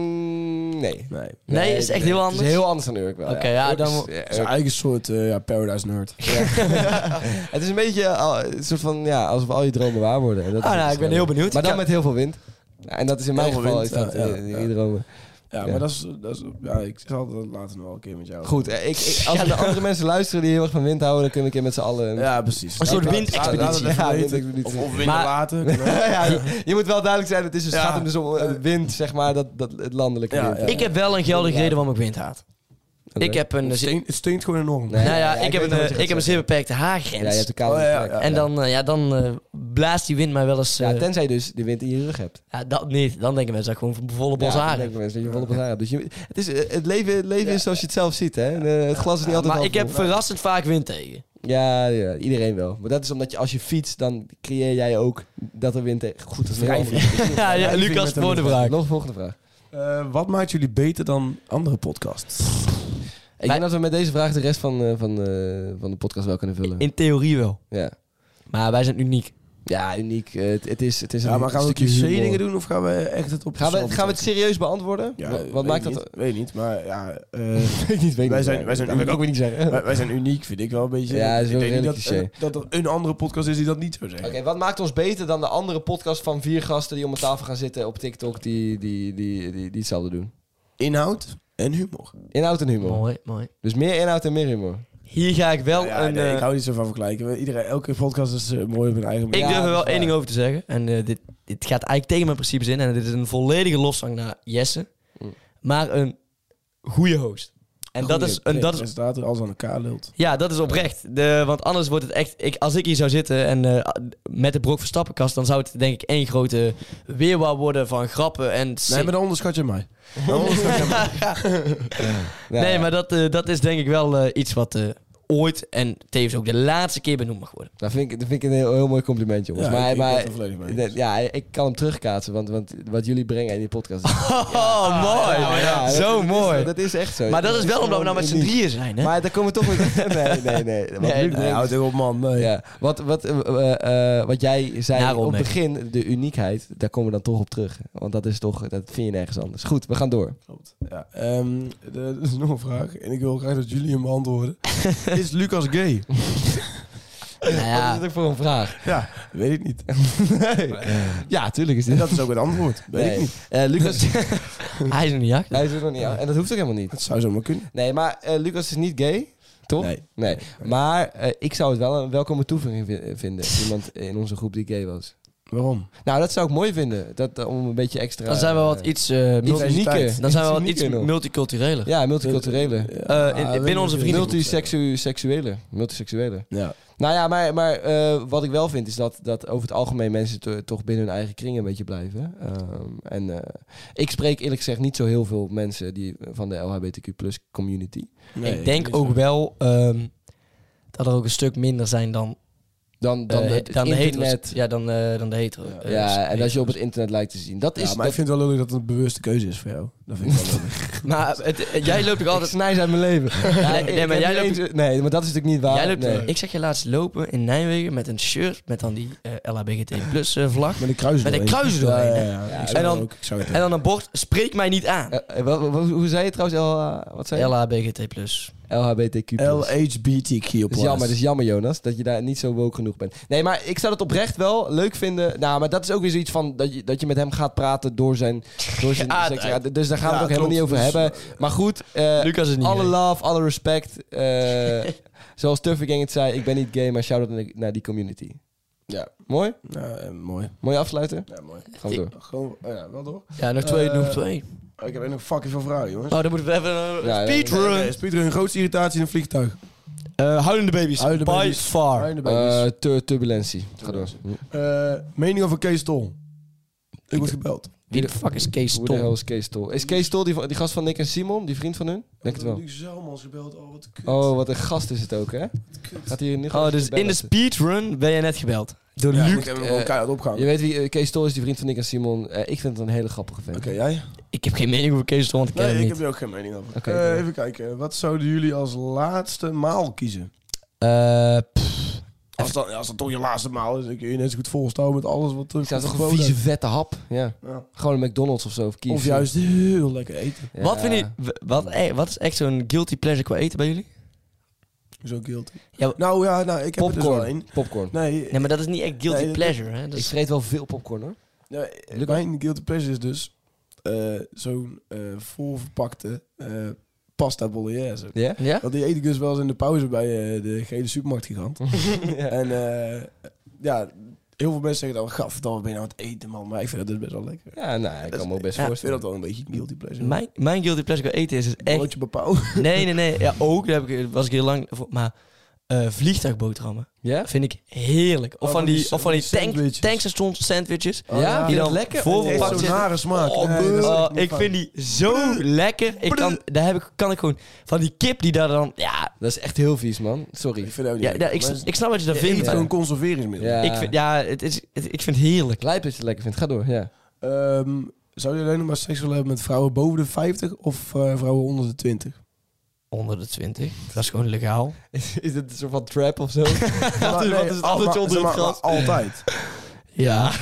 Mm, nee.
[laughs] Nee.
Nee, is echt heel
Het
anders?
is heel anders dan Urk wel.
Oké, ja,
Urk is-
dan-
ja, Urk-
Zijn eigen soort eh, ja, paradise nerd.
Het is een beetje eh, een soort van, ja, alsof al je dromen waar worden. En Dat
Ah,
is
nou,
het
ik ben
verschil.
heel benieuwd.
Maar dan
Ik
met heel veel wind. Ja, En dat is in mijn
Heel veel
geval
wind,
is dat,
ja, ja,
eh,
ja.
die dromen.
Ja,
Ja.
maar dat is... Dat is ja, ik zal dat later nog wel een keer met jou.
Goed, eh, ik, ik, [laughs] als er andere mensen luisteren die heel erg van wind houden, dan kunnen we een keer met z'n allen... een-
Ja, precies.
Een soort
Laat-
windexpeditie.
laat- laat het even
Ja,
weten.
windexpeditie.
Of, of wind
Maar-
water. kan ook.
[laughs] ja, je, je moet wel duidelijk zijn, het, is, dus- het
Ja.
gaat hem dus om eh, wind, zeg maar, dat, dat, het landelijke
Ja,
wind.
ja.
heb- Ik heb wel een geldige reden waarom ik wind haat.
Oké.
Ik heb een...
Het stinkt- Het stinkt gewoon enorm.
Nee.
nou ja,
Ja,
ik,
ik
heb
weet
een,
wat je
eh,
gaat
ik heb een zeer beperkte haargrens.
Ja, je hebt de koude
Oh, ja,
plek.
ja.
En dan, eh, ja, dan eh, blaast die wind mij wel eens...
Ja,
eh,
tenzij je dus die wind in je rug hebt.
ja, dat niet. Dan denken mensen dat ik gewoon volle bos
ja,
haar
dan
heb.
denken mensen dat je volop haar hebt. Dus je, het, is, eh, het leven, het leven is zoals je het zelf ziet, hè. En, eh, het glas is niet altijd
Maar
half
ik heb
vol.
verrassend vaak wind tegen.
Ja, ja, iedereen wel. Maar dat is omdat je, als je fietst, dan creëer jij ook dat er wind... tegen- Goed, dat is een heel
Wrijving.
andere-
ja, ja,
vind
Lucas,
met een-
voor de vraag.
Nog volgende vraag.
Eh, wat maakt jullie beter dan andere podcasts?
Ik denk dat we met deze vraag de rest van, eh, van, eh, van de podcast wel kunnen vullen.
In theorie wel.
Ja.
Maar wij zijn uniek.
Ja, uniek. Eh, het, het is, het is
Ja,
een
maar gaan we
stukje
cliché
humor.
dingen doen of gaan we echt het op
Gaan we,
onszelf
gaan we het serieus beantwoorden?
Ja,
Wat-
weet
Wat maakt
ik
dat... [laughs]
niet, Weet ik niet, maar ja... eh, [laughs]
Weet niet, weet
Wij
niet.
zijn- wij zijn
dat
Eh,
wil ik ook weer niet zeggen.
wij, wij zijn uniek, vind ik wel een beetje.
Ja, dat is wel
ik denk
redelijk
niet dat, dat er een andere podcast is die dat niet
[laughs]
zou
Oké,
zeggen.
wat maakt ons beter dan de andere podcast van vier gasten die om een tafel gaan zitten op TikTok die, die, die, die, die hetzelfde doen?
Inhoud en humor.
Inhoud en humor.
Mooi, mooi.
Dus meer inhoud en meer humor.
Hier ga ik wel
Nou ja,
een...
nee,
eh,
ik hou niet zo van vergelijken. We- Iedereen, elke podcast is eh, mooi op hun eigen
Ik
Ja,
manier.
durf er
dat
wel
is
één
waar.
ding over te zeggen. En eh, dit, dit gaat eigenlijk tegen mijn principes in. En dit is een volledige lofzang naar Jesse.
Mm.
Maar een goede host. En dat is, en dat is,
Presentator, alles aan elkaar lult.
ja, dat is oprecht. De, want anders wordt het echt... Ik, als ik hier zou zitten en eh, met de Brok Verstappenkast... dan zou het denk ik één grote weerwaar worden van grappen en...
Nee, maar dan onderschat je mij. Dan onderschat je mij.
Ja,
nee, maar dat, eh, dat is denk ik wel eh, iets wat eh, ooit en tevens ook de laatste keer benoemd mag worden.
Dat vind ik, dat vind ik een heel, heel mooi compliment, jongens.
Ja,
maar,
ik- ik ben
maar,
het er volledig mee eens.
dat- ja, ik kan hem terugkaatsen, want, want wat jullie brengen in die podcast...
Oh, [laughs] mooi.
Ja, maar ja, dat-
Zo
dat is-
mooi.
dat is echt zo.
maar dat is wel omdat we nou met z'n
Uniek.
drieën zijn, hè?
Maar daar komen we toch weer... Nee, nee, nee.
[laughs] Nee,
Wat Luc
nee,
brengt-
houd toch op, man. Nee.
Ja, wat, wat, eh, eh, eh, wat jij zei
Nare
op het begin, de uniekheid, daar komen we dan toch op terug. Want dat is toch, dat vind je nergens anders. Goed, we gaan door.
Klopt. Ja, ehm, de- er is nog een vraag. En ik wil graag dat jullie hem [laughs] beantwoorden. is Lucas [laughs] gay?
Nou ja.
[laughs] Wat is het ook voor een vraag?
Ja, weet ik niet.
Ja, tuurlijk is
En
dit.
dat [laughs] is ook het antwoord. Weet
Nee.
ik niet.
Eh, Lucas,
Hij is er niet achter.
hij is er nog niet aan. En dat hoeft ook helemaal niet.
Het zou zomaar kunnen.
Nee, maar eh, Lucas is niet gay, toch?
Nee.
Maar eh, ik zou het wel een welkome toevoeging vi- eh, vinden. Iemand in onze groep die gay was.
Waarom?
Nou, dat zou ik mooi vinden. Dat, eh, om een beetje extra...
Dan zijn we wat
eh,
iets, eh, multi-
Diversiteit.
unieker.
dan zijn we wat
Iets
iets
unieker nog.
multicultureler.
Ja, multiculturele.
Eh, in-
ah,
in- binnen onze vrienden.
Multiseksuele. Multiseksuele.
Ja.
Nou ja, maar, maar eh, wat ik wel vind is dat, dat over het algemeen mensen to- toch binnen hun eigen kring een beetje blijven. Ehm, en eh, ik spreek eerlijk gezegd niet zo heel veel mensen die, van de LHBTQ community.
Nee,
ik denk
niet
ook
zo.
wel ehm, dat er ook een stuk minder zijn dan
dan, dan
Eh,
het
dan de
internet.
hetero's. Ja, dan, eh, dan de hetero. eh,
ja, en als je
hetero's.
op het internet lijkt te zien. Dat
Ja,
is...
maar ik
dat-
vind het wel leuk dat het een bewuste keuze is voor jou. Dat vind ik wel leuk.
Maar het- eh, jij loopt toch
Ik
altijd...
snij zijn mijn leven.
[laughs] Ja, nee,
Ik
nee, maar
heb
jij
niet
loopt...
eens- nee, maar dat is natuurlijk niet [laughs] waar.
jij loopt
nee.
Ik zag je laatst lopen in Nijmegen met een shirt met dan die eh, LHBGT plus eh, vlag.
[laughs] Met een kruis
Met een
doorheen.
kruis doorheen,
Ja,
hè?
ja, ja.
Ja,
Ik
en
zou
dan-
het ook. Ik zou het
En dan een bord, spreek mij niet aan.
Eh, eh, wat- wat- hoe zei je trouwens? L, eh, wat zei je?
LHBGT plus.
LHBTQ+.
LHBTQ+.
Dat is jammer, dat is jammer Jonas, dat je daar niet zo woke genoeg bent. Nee, maar ik zou dat oprecht wel leuk vinden. Nou, maar dat is ook weer zoiets van dat je, dat je met hem gaat praten door zijn... Door zijn
Ja,
seks- ja, d- dus daar gaan we
Ja,
het ook helemaal
klopt.
niet over
Dus,
hebben. Maar goed, eh,
Lucas is niet gay.
alle love, alle respect. eh, [laughs] zoals Tuffy Gang het zei, ik ben niet gay, maar shout-out naar- naar die community.
Ja.
Mooi?
Ja, eh, mooi.
Mooi afsluiter?
Ja, mooi.
Gaan we door.
Gewoon, oh ja, wel door.
Ja, nog twee,
Eh,
nog twee.
Oh, Ik heb echt nog fucking veel vragen, jongens.
Oh, dan moeten we even een
Ja, ja,
speedrun.
Nee, nee, speedrun, grootste irritatie in een vliegtuig.
Eh, huilende baby's.
Huilende
By
baby's.
far.
Fijne
Eh
baby's.
tu- turbulentie. Ga door.
Eh, mening over Kees Tol. Ik word gebeld.
Wie de fuck is Kees
Hoe de hell
Tom?
is Kees Tol? Is Kees Tol die, van- die gast van Nick en Simon? Die vriend van hun? Denk het wel.
Nu Zelmans gebeld, oh wat kut.
Oh, wat een gast is het ook, hè? Gaat hier nu
Oh,
gewoon
dus in de
bellen?
speedrun ben je net gebeld. Door
Ja, ik
Luc.
moet hem gewoon
eh,
keihard opgaan.
Je
Oké,
weet wie eh, Kees Tol is, die vriend van Nick en Simon. Eh, ik vind het een hele grappige vent.
jij?
Ik heb geen mening over Kees Tom, want ik ken
Nee,
hem
ik
niet.
heb er ook geen mening over.
Oké,
Eh,
doe maar.
even kijken, wat zouden jullie als laatste maal kiezen?
Eh, pff,
Als dat, als dat toch je laatste maal is, dan kun je net zo goed volstaan met alles wat er
Ik zou toch een
geboden
vieze
is.
vette hap. Ja.
Ja.
Gewoon een McDonald's of zo. Of, KFC.
Of juist heel lekker eten.
Ja.
Wat vind je... w- Wat, eh, wat is echt zo'n guilty pleasure qua eten bij jullie?
Zo guilty.
Ja,
Nou ja, nou, ik heb er dus wel
Popcorn.
één.
Popcorn.
Nee,
Nee, maar dat is niet echt guilty
Nee, dat-
pleasure, hè? Dat
Ik
is-
vreet wel veel popcorn hoor.
Nee,
Luc-
mijn guilty pleasure is dus eh, zo'n eh, volverpakte eh, pasta bolognese.
Ja?
ja?
Want die eet ik dus wel eens in de pauze bij eh, de gele
[laughs]
supermarktgigant. En eh, ja, heel veel mensen zeggen dan, gaf, dan ben je nou aan het eten man. Maar ik vind dat dus best wel lekker.
Ja, nou, ik
Dat
kan me
is-
ook best
ja,
Ik vind
voorstellen.
dat wel een beetje een guilty pleasure.
Mijn, mijn guilty pleasure qua eten is dus echt...
Broodje bepaal.
Nee, nee, nee. Ja, ook. Daar heb ik, was ik heel lang... voor- Maar eh, vliegtuigboterhammen
Ja?
vind ik heerlijk. Of
Oh,
van die, of van die
sandwiches.
tank, tankstations sandwiches.
Ja,
ja.
vind je
Die
dat
dan
lekker?
voor-
Echt
Pak
zo'n
zit-
nare smaak.
Oh,
Nee, dat is
oh,
echt niet
ik
fijn.
vind die zo lekker. Ik kan, daar heb ik, kan ik gewoon... Van die kip die daar dan... Ja,
Dat is echt heel vies, man. Sorry.
Ik vind dat ook niet
ja,
lekker.
ja, ik,
Maar
s- ik snap wat je daar
je eet
vindt.
het
maar-
gewoon conserveringsmiddel.
Ja.
Ik vind, ja, het is, het- ik vind het heerlijk.
Lijp dat je het lekker vindt. Ga door, ja.
Ehm, zou je alleen nog maar seks willen hebben met vrouwen boven de 50 of eh, vrouwen onder de
[laughs]
20?
Onder de 20. Dat is gewoon legaal.
[laughs] Is, is dit een soort van trap of [laughs] zo?
Maar
is- wat is het altijd
maar-
onder het
maar-
gras?
maar Altijd.
Ja. [laughs]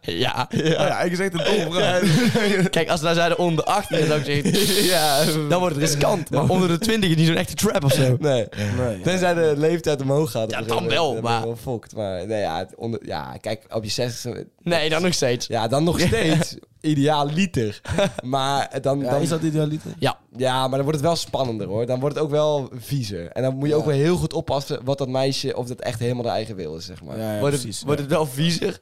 ja.
Ja, ja ik zeg het domme vraag.
[laughs]
Kijk, als we nou zeiden onder de 18, dan zou ik zeggen...
ja.
Dan wordt het riskant. Maar onder de 20 is niet zo'n echte trap of zo.
Nee.
Nee.
Tenzij de leeftijd omhoog gaat.
Ja,
op een
dan
gegeven
wel,
moment, ben
maar-
je wel fokt. Maar nee, ja, het onder, ja, kijk, op je 60
Nee, dan nog steeds.
[laughs] Ja, dan nog steeds idealiter. Maar dan,
Ja,
dan,
is dat idealiter?
Ja.
ja, maar dan wordt het wel spannender hoor. Dan wordt het ook wel viezer. En dan moet je ook wel heel goed oppassen wat dat meisje, of dat echt helemaal de eigen wil is, zeg maar.
Wordt het, wordt het wel viezer.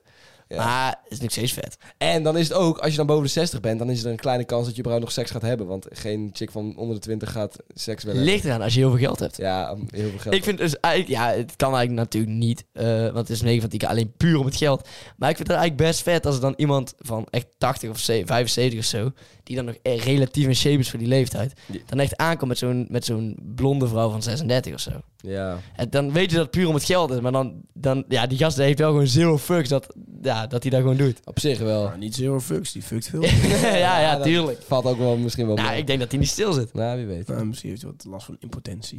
Ja.
Maar het is nog steeds vet.
En dan is het ook, als je dan boven de 60 bent, dan is er een kleine kans dat je überhaupt nog seks gaat hebben. Want geen chick van onder de 20 gaat seks willen hebben.
Ligt eraan als je heel veel geld hebt.
Ja, om heel veel geld.
Ik vind dus eigenlijk... Ja, het kan eigenlijk natuurlijk niet. eh, want het is negen van tien keer alleen puur om het geld. Maar ik vind het eigenlijk best vet als er dan iemand van echt 80 of ze- 75 of zo... die dan nog eh, relatief in shape is voor die leeftijd...
Ja.
dan echt aankomt met zo'n, met zo'n blonde vrouw van 36 of zo.
Ja.
En dan weet je dat het puur om het geld is. Maar dan... dan ja, die gast heeft wel gewoon zero fucks dat, ja, dat hij dat gewoon
[laughs]
doet.
Op zich wel.
Nou, niet zero fucks, die fuckt veel.
[laughs]
[laughs]
ja, ja,
dat
tuurlijk.
Valt ook wel misschien wel
Nou,
mee.
ik denk Ehm. dat hij niet stil zit.
Nou, wie weet.
Nou, misschien heeft hij wat last van
[laughs]
impotentie.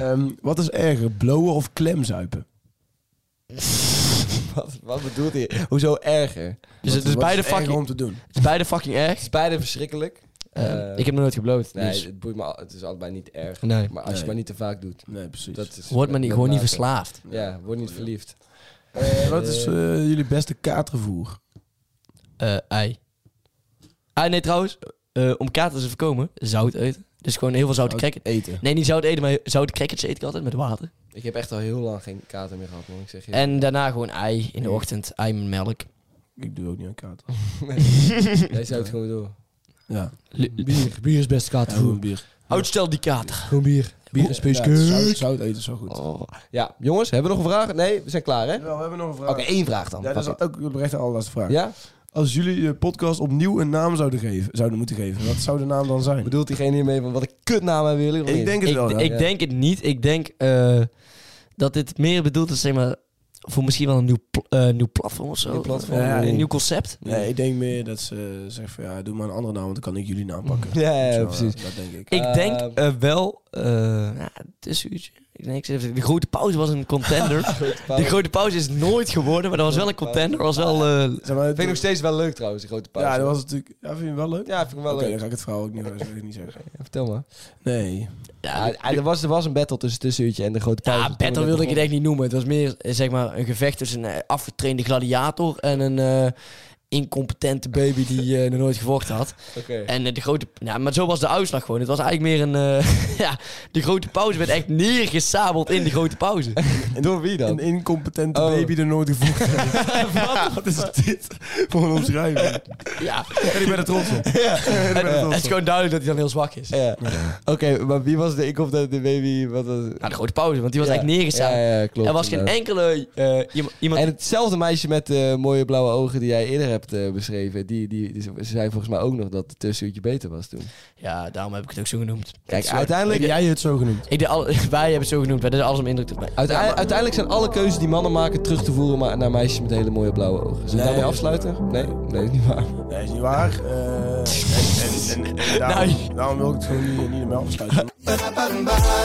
Ehm, wat is erger, blowen of klemzuipen?
[laughs] Wat, wat bedoelt hij? Hoezo erger?
Dus
Wat-
het is
wat
beide,
erger
fucking,
om te doen?
het is beide fucking
Het
erg.
is beide verschrikkelijk.
Eh,
Eh,
ik heb nog nooit gebloot.
Nee,
dus-
het boeit me. al- Het is allebei niet erg.
nee.
Maar als je
Nee.
maar niet te vaak doet.
Nee, precies.
Dat is
Wordt me niet, gewoon niet verslaafd.
Ja, word niet verliefd.
Eh, wat is eh, jullie beste kaartgevoer?
eh ei. Ah, nee, trouwens. eh, om katers te voorkomen, zout eten. Dus gewoon heel veel zoute crackers.
Eten.
Nee, niet zout eten, maar zoute crackers eet ik altijd met water.
Ik heb echt al heel lang geen kater meer gehad, man. Ik zeg je.
En daarna gewoon ei in de ochtend. Ei met melk.
Ik doe ook niet aan kaart.
Jij zou het gewoon doen.
Ja.
Bier, bier is best
Gewoon bier.
Uitstel die kater.
Gewoon bier. Bier is
Ja, zout, zout eten is zo goed.
Oh.
Ja, jongens, hebben we nog een vraag? Nee, we zijn klaar, hè? Oké,
we hebben nog een vraag.
één vraag dan.
Eh, Ja, dat is ook oprecht de allerlaatste vraag.
Ja?
Als jullie je podcast opnieuw een naam zouden, geven, zouden moeten geven, wat zou de naam dan zijn?
[laughs] Bedoelt diegene hiermee van wat een kutnaam hebben jullie? of
Ik
niet?
denk het
Ik,
wel. ja.
ik denk het niet. Ik denk eh, dat dit meer bedoeld is, zeg maar, voor misschien wel een nieuw, pl- eh, nieuw platform of zo.
Nieuw platform.
Eh,
Nee.
een nieuw concept.
Nee, ik denk meer dat ze zeggen van ja, doe maar een andere naam, want dan kan ik jullie naam pakken.
Ja, ja,
Zo,
precies.
Dat denk ik.
Ik
Eh,
denk eh, wel, eh, ja, het is zoiets. Ik denk, even- de grote pauze was een [laughs] contender. De grote pauze is nooit geworden, maar dat was wel een contender. Was wel, eh,
Zeg maar,
Vind ik nog steeds wel leuk trouwens, die grote pauze.
ja, dat was natuurlijk. Ja, vind je hem wel leuk?
Ja, vind ik wel
Oké,
leuk.
dan ga ik het verhaal ook niet, verder niet zeggen.
Ja, vertel maar.
Nee.
ja,
Ja, er, was, er was een battle tussen Tussenuurtje en de grote pauze.
ja,
toen
battle
we
wilde
net
ik het echt niet noemen. Het was meer eh, zeg maar, een gevecht tussen een eh, afgetrainde gladiator en een eh, incompetente baby die eh, nog nooit gevochten
[laughs]
had.
begonnen. Oké.
En eh, de grote... Ja, maar zo was de uitslag gewoon. Het was eigenlijk meer een... eh, [laughs] ja, de grote pauze werd echt neergesabeld in de grote pauze.
En door wie dan?
Een incompetente
Oh.
baby er nooit gevoegd heeft. Wat is dit voor een omschrijving?
[laughs] ja.
En ik ben er trots op.
En, Eh, het is gewoon duidelijk dat hij dan heel zwak is.
Ja. Oké, maar wie was de ik of de, de baby? Wat was...
Nou, de grote pauze, want die was
Ja.
eigenlijk neergesabeld.
Ja, ja, klopt.
er was geen
inderdaad.
enkele eh, iemand... iemand
En hetzelfde meisje met eh, mooie blauwe ogen die jij eerder hebt eh, beschreven, die, die, die ze- zei volgens mij ook nog dat het tussenuurtje beter was toen.
Ja, daarom heb ik het ook zo genoemd.
Kijk,
Sorry.
uiteindelijk,
jij het zo genoemd?
Ik, denk al- [laughs] wij hebben het zo genoemd. Wij deden alles om indruk te maken.
uite- uiteindelijk zijn alle keuzes die mannen maken terug te voeren maar naar meisjes met hele mooie blauwe ogen. Zullen we
Nee.
daarmee afsluiten? Nee, nee, is niet waar.
Nee, is niet waar. Eh, en, en, en, en daarom,
Nee.
daarom wil ik het gewoon niet, niet meer afsluiten.